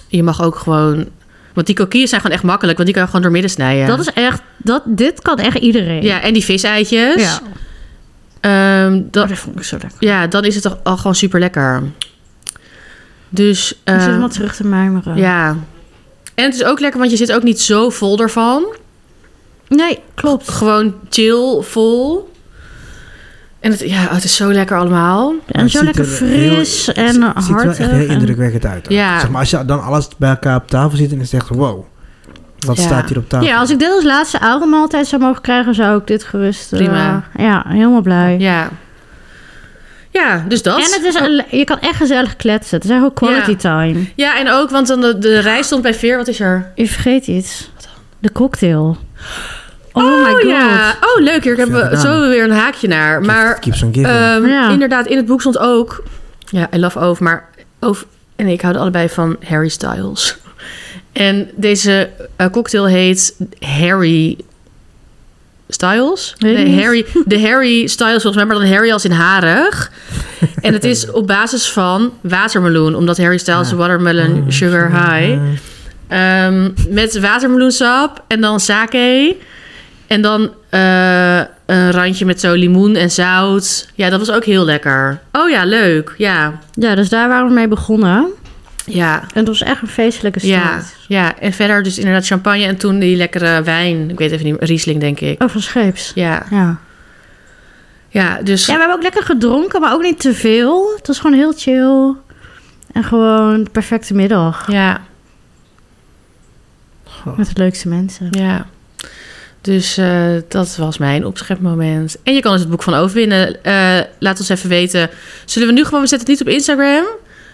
Je mag ook gewoon... Want die kokkies zijn gewoon echt makkelijk. Want die kan je gewoon doormidden snijden. Dat is echt, dat, dit kan echt iedereen. Dus Ja, en die viseitjes. Ja. Ehm, Oh, Dat, dat, vond ik zo lekker. Eh, ja, dan is het toch al gewoon super lekker. Dus eh, ik zit helemaal terug te mijmeren. ja. En het is ook lekker, want je zit ook niet zo vol ervan. Nee, klopt. Gewoon chill, vol. En het, ja, het is zo lekker allemaal. Maar En het zo ziet lekker er heel- fris en Het hard. ziet er wel echt heel indrukwekkend uit. hoor. Ja. Zeg maar, als je dan alles bij elkaar op tafel ziet en is het echt wow. Wat Ja. staat hier op tafel? Ja, als ik dit als laatste oude maaltijd zou mogen krijgen, zou ik dit gerust... eh, Prima. ja, helemaal blij. Ja. Ja, dus dat. En het is, een- je kan echt gezellig kletsen. Het is echt ook quality Ja. time. Ja, en ook, want dan de, de rijst stond bij Veer. Wat is er? Je vergeet iets. De cocktail. Oh, my god. ja. Oh, leuk. Hier hebben we Gedaan. zo weer een haakje naar. Keep- Maar Keep on giving. Ehm, Ja. Inderdaad, in het boek stond ook... Ja, I love Ove, maar Ove en ik houden allebei van Harry Styles. En deze eh, cocktail heet Harry Styles? Weet ik Nee, niet. Harry, de Harry Styles volgens mij, maar dan Harry als in harig. En het is op basis van watermeloen, omdat Harry Styles Ja. watermelon Mm, Oh, sugar high. eh, Ehm, met watermeloensap en dan sake. En dan eh, een randje met zo limoen en zout. Ja, dat was ook heel lekker. Oh ja, leuk. Ja, Ja, dus daar waren we mee begonnen. ja, En het was echt een feestelijke start. ja, ja. En verder dus inderdaad champagne en toen die lekkere wijn. Ik weet even niet, Riesling denk ik. Oh, van scheeps. Ja, Ja. ja dus ja, we hebben ook lekker gedronken, maar ook niet te veel. Het was gewoon heel chill. En gewoon de perfecte middag. ja, Met de leukste mensen. ja. Dus eh, dat was mijn opschepmoment. En je kan dus het boek van Ove winnen. Eh, laat ons even weten. Zullen we nu gewoon, we zetten het niet op Instagram.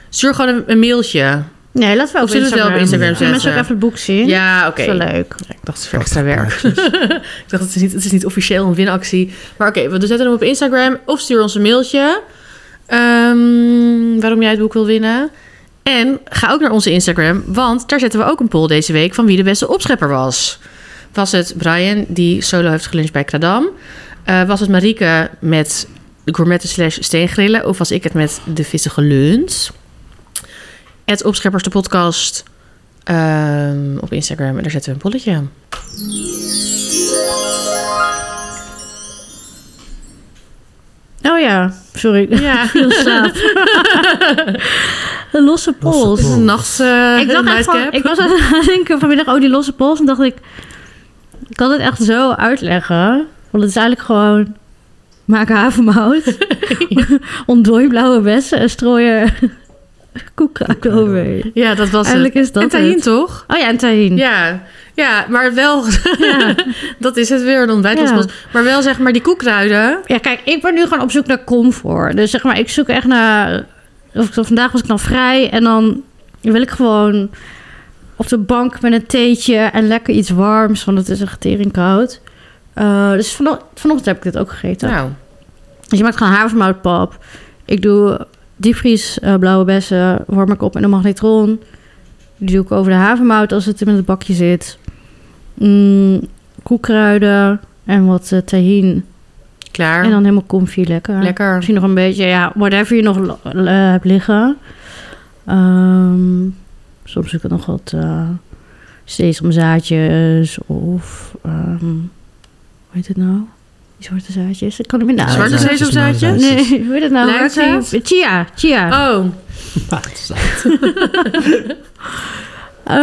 Stuur gewoon een, een mailtje. Nee, laten we ook Of zullen we het wel op Instagram Kunnen mensen ook zetten? even het boek zien? Ja, Dat oké. is wel leuk. Ik dacht, het is voor extra werk. ik dacht, het is, niet, het is niet officieel een winactie. Maar oké, we zetten hem op Instagram of stuur ons een mailtje. ehm, waarom jij het boek wil winnen. En ga ook naar onze Instagram, want daar zetten we ook een poll deze week van wie de beste opschepper was. Was het Brian, die solo heeft geluncht bij Kradam? Eh, was het Marieke met de gourmetten slash steengrillen? Of was ik het met de vissige lunch? Het opscheppers de podcast ehm, op Instagram en daar zetten we een polletje. Oh ja, sorry. Ja, Veel slaap. Een losse pols. is een nacht. eh, ik, dacht echt nightcap. van, ik was aan het denken vanmiddag, oh die losse pols. En dacht ik, ik kan het echt zo uitleggen. Want het is eigenlijk gewoon, maak havermout. ontdooi blauwe bessen en strooien koek over. Ja, dat was Eigenlijk is het. dat En Tahin het. toch? Oh ja, en tahin. Ja. ja, maar wel. Ja. dat is het weer dan bij het Ja. ontbijt. Maar wel zeg maar die koekruiden. Ja, kijk, ik ben nu gewoon op zoek naar comfort. Dus zeg maar, ik zoek echt naar... Of, ik- vandaag was ik dan vrij en dan wil ik gewoon op de bank met een theetje en lekker iets warms, want het is echt tering koud. Eh, dus vano- vanochtend heb ik dit ook gegeten. Nou, Dus je maakt gewoon havermoutpap. Ik doe diepvries eh, blauwe bessen, warm ik op in een magnetron. Die doe ik over de havermout als het in het bakje zit. Mm, koekkruiden en wat eh, tahin. klaar. En dan helemaal comfy lekker. Lekker. Misschien nog een beetje, ja, whatever je nog lo- eh, hebt liggen. Ehm, soms doe ik nog wat eh sesamzaadjes of... ehm, hoe heet het nou? Die zwarte zaadjes, dat kan ik niet meer Zwarte nadenken. zaadjes, zeezoomzaadjes? maanzaadjes. Nee, hoe heet het nou? Luizaad? Chia, chia. Oh, Eh,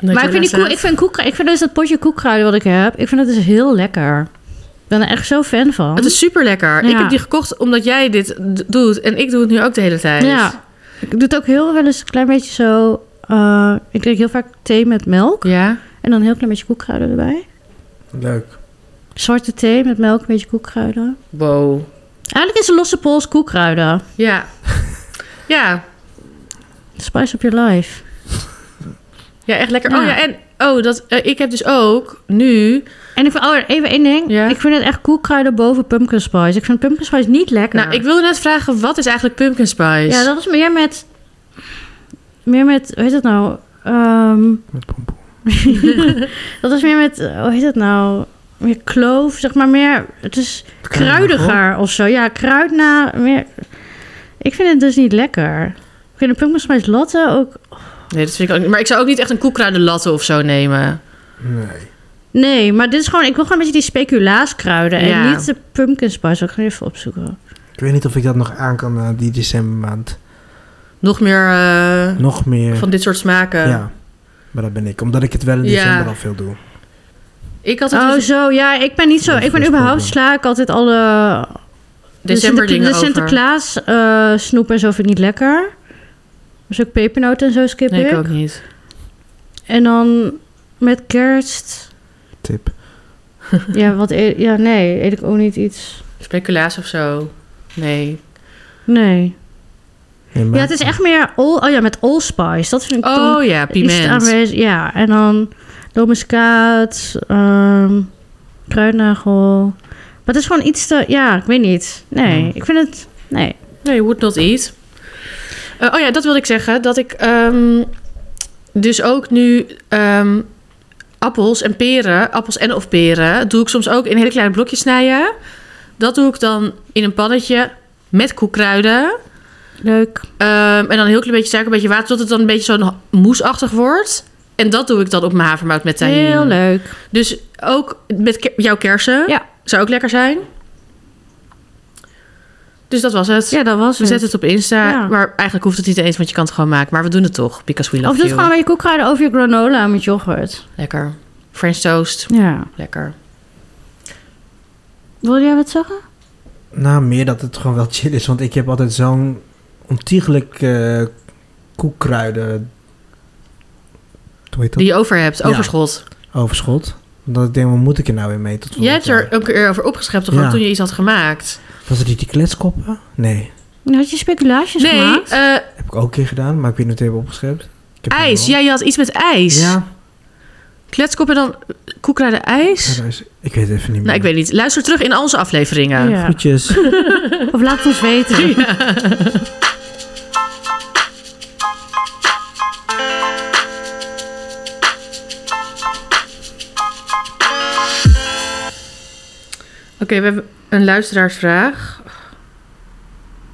je maar ik vind, die luizaad? koek, ik, vind koek, ik vind dus dat potje koekkruiden wat ik heb, ik vind dat dus heel lekker. Ik ben er echt zo fan van. het is super lekker. Ik Ja. heb die gekocht omdat jij dit d- doet. En ik doe het nu ook de hele tijd. Ja. Ik doe het ook heel wel eens een klein beetje zo. eh, ik drink heel vaak thee met melk. Ja? En dan een heel klein beetje koekkruiden erbij. Leuk. Zwarte thee met melk, een beetje koekkruiden. Wow. Eigenlijk is een losse pols koekkruiden. Ja. Ja. Spice up your life. Ja, echt lekker. Ja. Oh ja, en oh, dat, eh, ik heb dus ook nu... En ik vind, oh, even één ding. Ja. Ik vind het echt koekkruiden boven pumpkin spice. Ik vind pumpkin spice niet lekker. Nou, ik wilde net vragen, wat is eigenlijk pumpkin spice? Ja, dat is meer met... Meer met... Hoe heet het nou? Ehm, Met pompoen. dat is meer met... eh, Hoe heet het nou? Meer kloof, zeg maar meer... Het is kruidiger of zo. Ja, kruid na... Meer... Ik vind het dus niet lekker. Ik vind de pumpkin spice latte ook... Nee, dat vind ik ook niet. Maar ik zou ook niet echt een koekruidenlatte of zo nemen. Nee. Nee, maar dit is gewoon... Ik wil gewoon een beetje die speculaaskruiden. Ja. En niet de pumpkin spice. Ik ga even opzoeken. Ik weet niet of ik dat nog aan kan na die decembermaand. Nog meer eh, Nog meer. van dit soort smaken. ja. Maar dat ben ik. Omdat ik het wel in Ja. december al veel doe. Ik had het Oh, dus zo. Ja, ik ben niet zo... Even Ik ben überhaupt voorspellen. sla ik altijd alle... december de Sinter- dingen De over. Sinterklaas eh, snoep en zo vind ik niet lekker. Dus ook pepernoten en zo skip Nee, ik. ik ook niet. En dan met kerst... Tip. ja, wat e- ja, nee, eet ik ook niet iets... Speculaas of zo. Nee. Nee. Nee, maar- Ja, het is echt meer... All, oh ja, met allspice. Dat vind ik dan Oh ja, iets te piment. aanwezig. Ja, en dan domuskaat, ehm kruidnagel. Maar het is gewoon iets te... Ja, ik weet niet. Nee, Hmm. ik vind het... Nee. Nee, would not eat. Eh, oh ja, dat wilde ik zeggen. Dat ik ehm, dus ook nu ehm, appels en peren, appels en of peren, doe ik soms ook in hele kleine blokjes snijden. Dat doe ik dan in een pannetje met koekkruiden. Leuk. Ehm, en dan een heel klein beetje suiker, een beetje water, tot het dan een beetje zo'n ha- moesachtig wordt. En dat doe ik dan op mijn havermout met tahin. Heel leuk. Dus ook met ke- jouw kersen. Ja. Zou ook lekker zijn. Dus dat was het. Ja, dat was we het. zetten het op Insta. Ja. Maar eigenlijk hoeft het niet eens, want je kan het gewoon maken. Maar we doen het toch, because we love Of doe het you. gewoon met je koekkruiden over je granola met yoghurt. Lekker. French toast. Ja. Lekker. Wil jij wat zeggen? Nou, meer dat het gewoon wel chill is. Want ik heb altijd zo'n ontiegelijk eh, koekkruiden... Hoe heet dat? Die je over hebt, Ja. overschot. Overschot. Dat ik denk, wat moet ik er nou weer mee tot Jij hebt volgend er ook een keer over opgeschept, toch? ook Ja. Toen je iets had gemaakt. jaar? Was het niet die kletskoppen? Nee. Nou, Had je speculaasjes Nee, gemaakt? eh, Heb ik ook een keer gedaan, maar ik weet niet of ik het heb opgeschept. Ik heb ijs. het wel. Jij had iets met ijs. Ja. Kletskop en dan koekruiden ijs. ja, dat is- ik weet het even niet meer. Nou, ik weet niet. Luister terug in onze afleveringen. Ja. Groetjes. Of laat het ons weten. Oké, we hebben een luisteraarsvraag.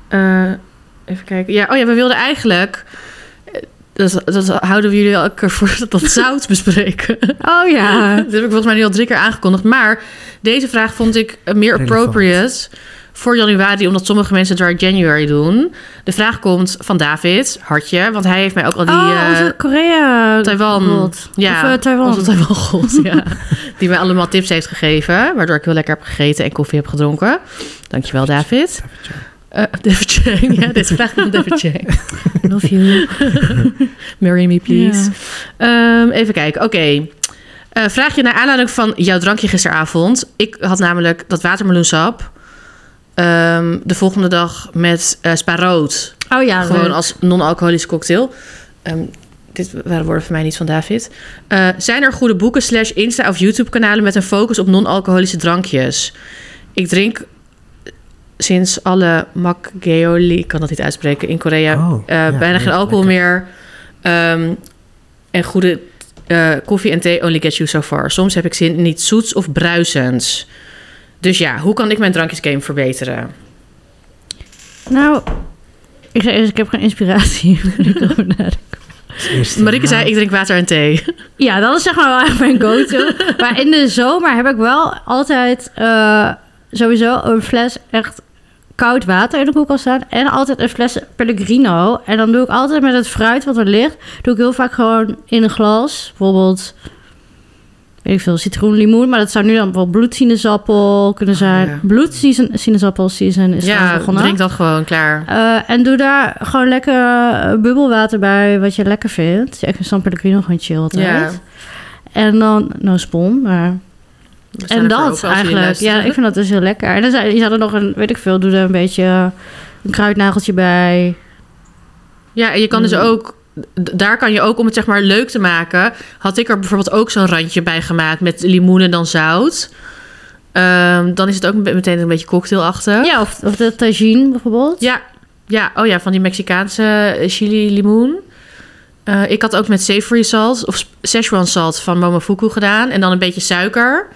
Eh, even kijken. Ja, oh ja, we wilden eigenlijk. eh, Dat, dat houden we jullie elke keer voor dat, dat zout bespreken. Oh ja. Dat heb ik volgens mij nu al drie keer aangekondigd. Maar deze vraag vond ik eh, meer Relevant. appropriate voor januari, omdat sommige mensen het dry January doen. De vraag komt van David, hartje, want hij heeft mij ook al die. oh, eh, onze Korea. Taiwan. God. Ja, Of eh, Taiwan. Onze Taiwan god, ja. Die mij allemaal tips heeft gegeven, waardoor ik heel lekker heb gegeten en koffie heb gedronken. Dankjewel, David. Eh David Chang, ja, dit is vraag van David Chang. Love you. Marry me, please. Ehm, even kijken, oké. Eh, vraag je naar aanleiding van jouw drankje gisteravond. Ik had namelijk dat watermeloensap ehm, de volgende dag met eh spa rood. Ja. Oh ja. Gewoon leuk. als non-alcoholische cocktail. Ehm, Dit waren woorden van mij niet van David. Eh, zijn er goede boeken slash Insta of YouTube kanalen met een focus op non-alcoholische drankjes? Ik drink sinds alle makgeoli, ik kan dat niet uitspreken, in Korea Oh, eh, ja, bijna geen leuk, alcohol lekker. meer. Ehm, en goede eh, koffie en thee only get you so far. Soms heb ik zin in iets zoets of bruisends. Dus ja, hoe kan ik mijn drankjesgame verbeteren? Nou, ik zei eerst, ik heb geen inspiratie. Eerst, Marike eh, zei, ik drink water en thee. Ja, dat is zeg maar wel echt mijn go-to. maar in de zomer heb ik wel altijd eh, sowieso een fles echt koud water in de koelkast staan. En altijd een fles Pellegrino. En dan doe ik altijd met het fruit wat er ligt, doe ik heel vaak gewoon in een glas. Bijvoorbeeld, weet ik veel, citroen, limoen. Maar dat zou nu dan bijvoorbeeld bloedsinaasappel kunnen zijn. ja. Bloedsinaasappel season is ja, ja, begonnen. drink dat gewoon, klaar. Eh, en doe daar gewoon lekker eh, bubbelwater bij, wat je lekker vindt. Ja, ik vind San Pellegrino gewoon chill altijd. Ja. En dan, nou spon, maar... We zijn En er voor open als dat jullie eigenlijk. luisteren. Ja, ik vind dat dus heel lekker. En dan zei, je had er nog een, weet ik veel, doe er een beetje eh, een kruidnageltje bij. Ja, en je kan dus Mm. ook... d- Daar kan je ook, om het zeg maar leuk te maken... had ik er bijvoorbeeld ook zo'n randje bij gemaakt... met limoen en dan zout. Ehm, dan is het ook met- meteen een beetje cocktailachtig. Ja, of, of de tagine bijvoorbeeld. ja. Ja, oh ja, van die Mexicaanse eh, chili limoen. Eh, ik had ook met savory salt... of Szechuan salt van Momofuku gedaan. En dan een beetje suiker.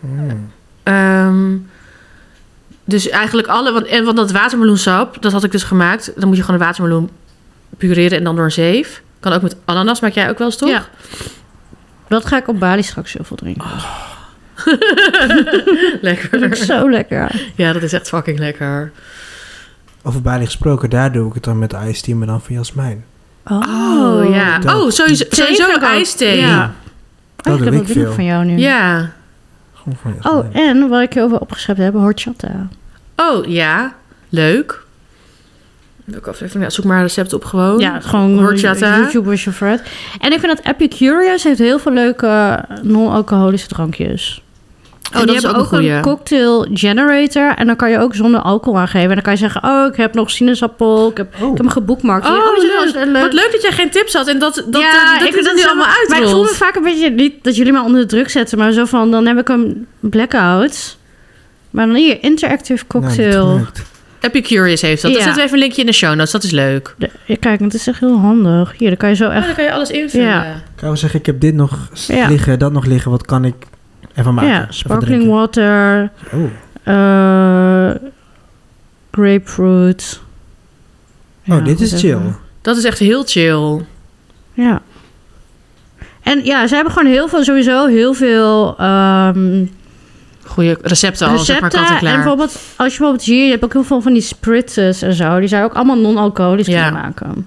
mm, Ehm, dus eigenlijk alle... Want, en want dat watermeloensap, dat had ik dus gemaakt. Dan moet je gewoon een watermeloen pureren en dan door een zeef. Kan ook met ananas, maak jij ook wel eens, toch? Ja. Dat ga ik op Bali straks heel veel Oh, drinken. dat is lekker. zo lekker. Ja, dat is echt fucking lekker. Over Bali gesproken, daar doe ik het dan met ijs team, maar dan van Jasmijn. Oh, ja. dat- Oh, sowieso, Thee sowieso vind ik ook ook. ijsthee. Ja. Ja. Mm, Oh, Dat ik doe heb ik dat drink veel. van jou nu. ja. Gewoon van Jasmijn. Oh, en waar ik je over opgeschreven heb, horchata. Oh, ja. Leuk. Welke aflevering? Ja, zoek maar recepten op gewoon. Ja, gewoon Oh, horchata. YouTube is je friend. En ik vind dat Epicurious heeft heel veel leuke eh, non-alcoholische drankjes. Oh, En dat die is hebben ook een goeie. een cocktail generator. En dan kan je ook zonder alcohol aangeven. En dan kan je zeggen, oh, ik heb nog sinaasappel. Ik heb, ik heb nou, hem geboekmarkt. Oh, Hier, is het wel eens leuk. een leuk- Wat leuk dat jij geen tips had en dat, dat, eh, ja, dat, dat, ik vind dat zo- nu allemaal Maar ik voel me uitrolt. vaak een beetje, niet dat jullie mij onder de druk zetten. Maar zo van, dan heb ik een blackout. Maar dan hier, interactive cocktail. Nou, dat lukt. Epicurious heeft dat. Dan Ja. zetten we even een linkje in de show notes. Dat is leuk. De- ja, kijk, het is echt heel handig. Hier, dan kan je zo Ja, echt... dan kan je alles invullen. Ja. Ik wou zeggen, ik heb dit nog s- Ja. liggen, dat nog liggen. Wat kan ik ervan maken? Ja, Even sparkling drinken. water. Oh. Eh, grapefruit. Ja, oh, dit is goed, chill. even. Dat is echt heel chill. Ja. En ja, ze hebben gewoon heel veel, sowieso heel veel ehm Goeie recepten al, zeg maar, recepten. kant en en klaar. bijvoorbeeld, als je bijvoorbeeld hier, je hebt ook heel veel van die spritzes en zo. Die zou je ook allemaal non-alcoholisch Ja. kunnen maken.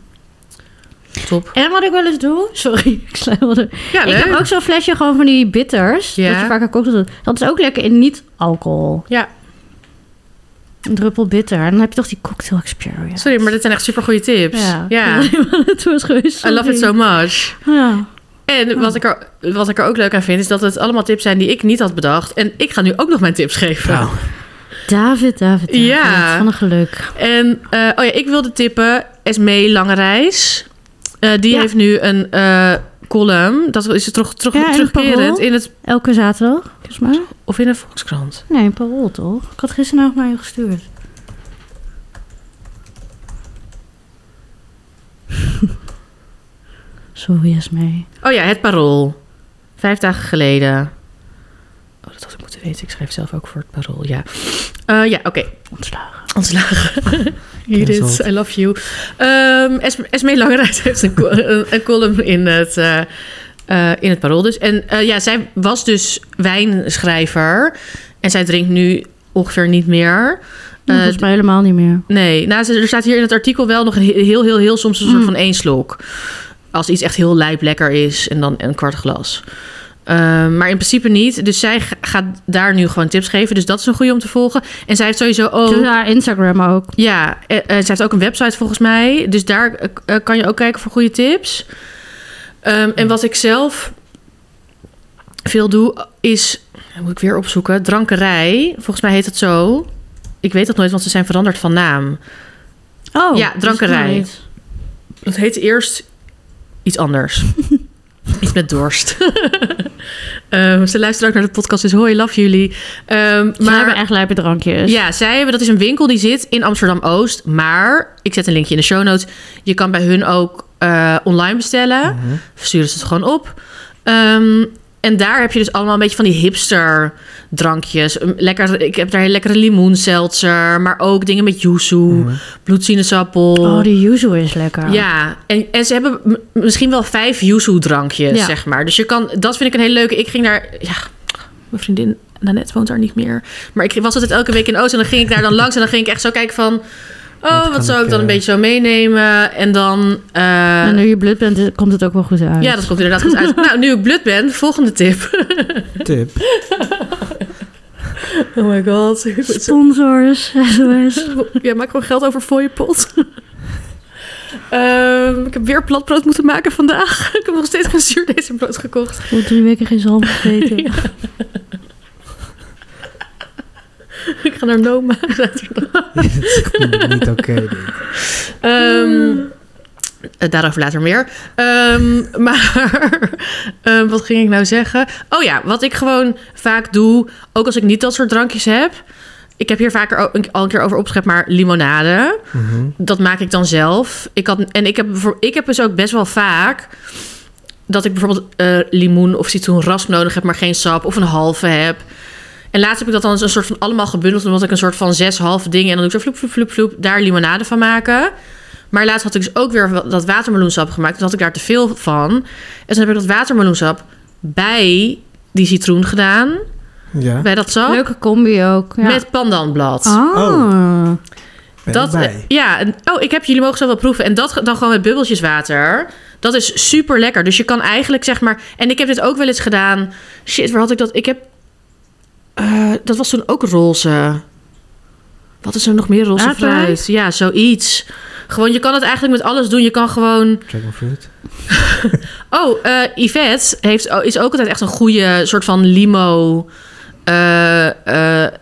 Top. En wat ik wel eens doe, sorry, ik sla wel de- Ja, Ik leuk. heb ook zo'n flesje gewoon van die bitters. Ja. Dat je vaker kookt. Dat is ook lekker in niet-alcohol. Ja. Een druppel bitter. En dan heb je toch die cocktail experience. Sorry, maar dit zijn echt super goede tips. Ja. het was geweest. I love it so much. Ja. Oh. En wat ik, er, wat ik er ook leuk aan vind, is dat het allemaal tips zijn die ik niet had bedacht. En ik ga nu ook nog mijn tips geven. Nou, David, David, David. Ja. Van een geluk. En, eh, oh ja, ik wilde tippen Esmee Lange Reis. Eh, die Ja. heeft nu een eh, column. Dat is terug, terug, Ja, in het terugkerend Parool. in het... Elke zaterdag, volgens mij. Of in een Volkskrant. Nee, een parool toch? Ik had gisteren nog naar je gestuurd. Sorry, Esmee. Oh ja, het Parool. Vijf dagen geleden. Oh, dat had ik moeten weten. Ik schrijf zelf ook voor het Parool, ja. Eh, ja, oké. Ontslagen. ontslagen. Judith, Cancelled. I love you. Ehm Es- Esmee Langerijs heeft een, co- een, een column in het, eh, eh, in het Parool dus. En eh, ja, zij was dus wijnschrijver. En zij drinkt nu ongeveer niet meer. Eh, volgens mij helemaal niet meer. Nee, nou, ze- er staat hier in het artikel wel nog een he- heel, heel, heel soms een soort Mm. van één slok. Als iets echt heel lijp lekker is en dan een kwart glas. Ehm, maar in principe niet. Dus zij ga- gaat daar nu gewoon tips geven. Dus dat is een goede om te volgen. En zij heeft sowieso ook... Doe haar Instagram ook. Ja, eh, eh, ze heeft ook een website volgens mij. Dus daar eh, eh, kan je ook kijken voor goede tips. Ehm, en wat ik zelf veel doe, is... Moet ik weer opzoeken. Drankerij. Volgens mij heet het zo. Ik weet dat nooit, want ze zijn veranderd van naam. Oh, Ja, drankerij. dat is wel iets. Dat heette eerst iets anders. iets met dorst. Ehm, ze luisteren ook naar de podcast, dus hoi, love jullie. Ehm, Ze hebben echt lijpe drankjes. ja, zij hebben, dat is een winkel die zit in Amsterdam-Oost. Maar, ik zet een linkje in de show notes. Je kan bij hun ook eh, online bestellen. Mhm. Sturen ze het gewoon op. Ehm, en daar heb je dus allemaal een beetje van die hipster drankjes. Een Lekker, ik heb daar heel lekkere limoenseltzer. Maar ook dingen met yuzu, Mhm. bloedsinezappel. Oh, die yuzu is lekker. Ja, en, en ze hebben m- misschien wel vijf yuzu-drankjes, Ja. zeg maar. Dus je kan, dat vind ik een hele leuke. Ik ging daar, ja, mijn vriendin Nanette woont daar niet meer. Maar ik was altijd elke week in Oost en dan ging ik daar dan langs en dan ging ik echt zo kijken van... Oh, Wat wat kan zou ik, ik dan een eh, beetje zo meenemen? En dan... eh, En nu je blut bent, komt het ook wel goed uit. ja, dat komt inderdaad goed uit. nou, nu ik blut ben, volgende tip. Tip. Oh my god. Sponsors, SOS. Ja, maak gewoon geld over voor je pot. Ehm, ik heb weer platbrood moeten maken vandaag. ik heb nog steeds geen zuurdesembrood gekocht. Ik heb drie weken geen zalm gegeten. Ja. ik ga naar Noma. Dit is echt niet oké. dit. Ehm, eh, Daarover later meer. Ehm, maar ehm, wat ging ik nou zeggen? Oh ja, wat ik gewoon vaak doe, ook als ik niet dat soort drankjes heb. Ik heb hier vaker al een- al een keer over opgeschreven, maar limonade. Mhm. Dat maak ik dan zelf. Ik had, en ik heb, bijvoor- ik heb dus ook best wel vaak dat ik bijvoorbeeld eh, limoen of citroenrasp nodig heb, maar geen sap of een halve heb. En laatst heb ik dat dan als een soort van allemaal gebundeld, omdat ik een soort van zes halve dingen en dan doe ik zo vloep, vloep, vloep, vloep, daar limonade van maken. Maar laatst had ik dus ook weer wa- dat watermeloensap gemaakt. Toen had ik daar te veel van. En toen heb ik dat watermeloensap bij die citroen gedaan, Ja, bij dat sap, Leuke combi ook. Ja. met pandanblad. Ah. ben Dat, eh, bij. ja, en- oh, ik heb jullie mogen zo wel proeven. En dat ge- dan gewoon met bubbeltjes water. Dat is super lekker. Dus je kan eigenlijk zeg maar. En ik heb dit ook wel eens gedaan. Shit, waar had ik dat? Ik heb. eh, dat was toen ook roze. Wat is er nog meer roze Aardbei? fruit? Ja, zoiets. Gewoon, je kan het eigenlijk met alles doen. Je kan gewoon. Dragon Fruit. Oh, eh, Yvette heeft, is ook altijd echt een goede soort van limo eh, eh,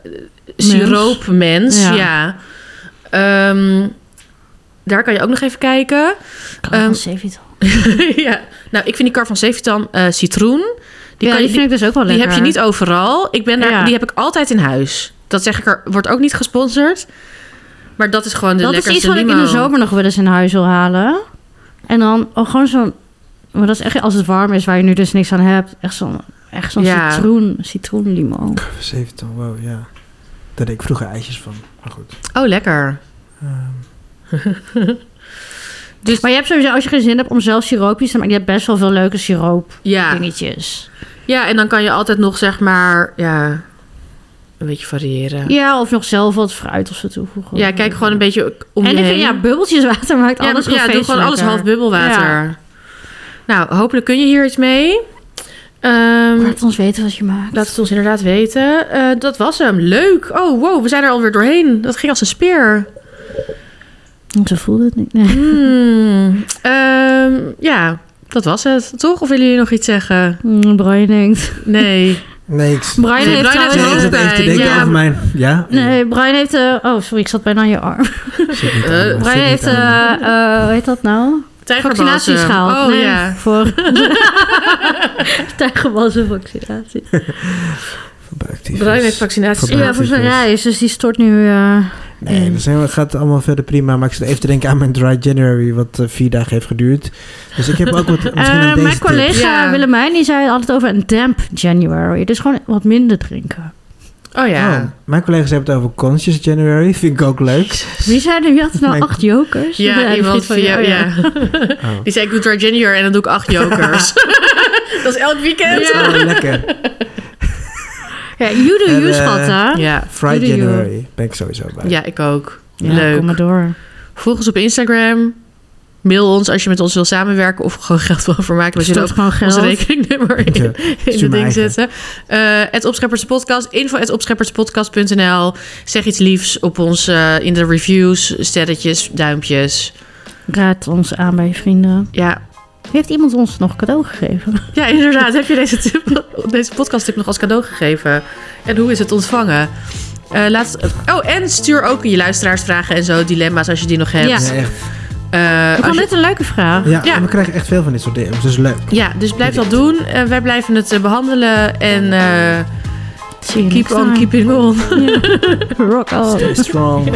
siroopmens. Ja. Ja. Ehm, daar kan je ook nog even kijken. Ehm, Um, die ja. Nou, ik vind die kar van Sevitan eh, citroen. Die, ja, kan je, die die, vind ik dus ook wel die lekker. heb je niet overal. Ik ben daar, Ja. Die heb ik altijd in huis. Dat zeg ik er, wordt ook niet gesponsord. Maar dat is gewoon de Dat is lekkerste iets wat ik in de limo. zomer nog wel eens in huis wil halen. En dan oh, gewoon zo'n... Maar dat is echt als het warm is, waar je nu dus niks aan hebt. Echt zo'n echt zo'n Ja. citroen, citroenlimo. 17, wow, ja. Daar deed ik vroeger ijsjes van. Maar goed. Oh, lekker. Ehm, Maar je hebt sowieso, als je geen zin hebt om zelf siroopjes te maken... je hebt best wel veel leuke siroop Ja. dingetjes. Ja, en dan kan je altijd nog zeg maar, ja, een beetje variëren. Ja, Ja, of nog zelf wat fruit of zo toevoegen. kijk gewoon een beetje om En je ik heen. vind, ja, bubbeltjes water maakt ja, alles doe- ja, doe gewoon alles half bubbel. bubbelwater. Ja. Nou, hopelijk kun je hier iets mee. Ehm, Laat ons weten wat je maakt. laat het ons inderdaad weten. Eh, dat was hem. Leuk. Oh, wow, we zijn er alweer doorheen. Dat ging als een speer. Zo voelde het niet. Nee. Hmm. Ehm, ja, dat was het. Toch? Of willen jullie nog iets zeggen? Mm, Brian denkt. Nee. niks. Brian Nee, heeft Brian heeft trouwens- Nee, ik zat even te hoofdpijn, denken ja. over mijn... Ja? Nee, Brian heeft... eh, oh, sorry, ik zat bijna aan je arm. Zit niet aan, Eh, zit Brian niet heeft... aan. eh, eh, hoe heet dat nou? Tijgerbalsem. Vaccinaties gehaald. Oh, nee, ja. Voor... Tijgerbalsen vaccinatie. Verbuikt, eh, Brian heeft tyfus. vaccinaties Verbaasd. Ja, voor zijn reis. Dus die stort nu... eh, Nee, dat zijn we- gaat allemaal verder prima. Maar ik zit even te denken aan mijn dry January, wat eh, vier dagen heeft geduurd. Dus ik heb ook wat misschien Eh, aan deze mijn tip. collega Ja. Willemijn die zei altijd over een damp January. Dus gewoon wat minder drinken. Oh ja. Oh, mijn collega's hebben het over Conscious January. Vind ik ook leuk. Wie zei er? Wie had er nou Mijn- acht jokers? Ik ben Ja, de iemand vriend van jou. jou, Ja. Oh. Die zei, ik doe dry January en dan doe ik acht jokers. dat is elk weekend. Dat is wel Oh, lekker. Ja, you do En, you, eh, schat, hè? Ja, Friday Jullie, January ben ik sowieso bij. ja ik ook. Ja, Leuk. kom maar door. Volg ons op Instagram. Mail ons als je met ons wil samenwerken of gewoon geld wil vermaken. We Dus zullen ook dat gewoon geld. ons rekeningnummer in, Ja, in mijn het ding eigen. zetten. Eh het Opschepperspodcast, info at opschepperspodcast.nl. Zeg iets liefs op ons eh, in de reviews, sterretjes, duimpjes. Raad ons aan bij je vrienden. Ja, Heeft iemand ons nog cadeau gegeven? ja inderdaad. heb je deze, tip, deze podcast tip nog als cadeau gegeven? En hoe is het ontvangen? Eh, laat, oh, en stuur ook je luisteraarsvragen en zo, dilemma's als je die nog hebt. Ja. Ja, echt. eh, Ik als vond je- dit een leuke vraag. Ja, Ja. en we krijgen echt veel van dit soort DM's. Dus leuk. ja, dus blijf dat doen. Eh, wij blijven het eh, behandelen. En eh, Zie je keep next on time. keeping on. Rock on. Stay strong.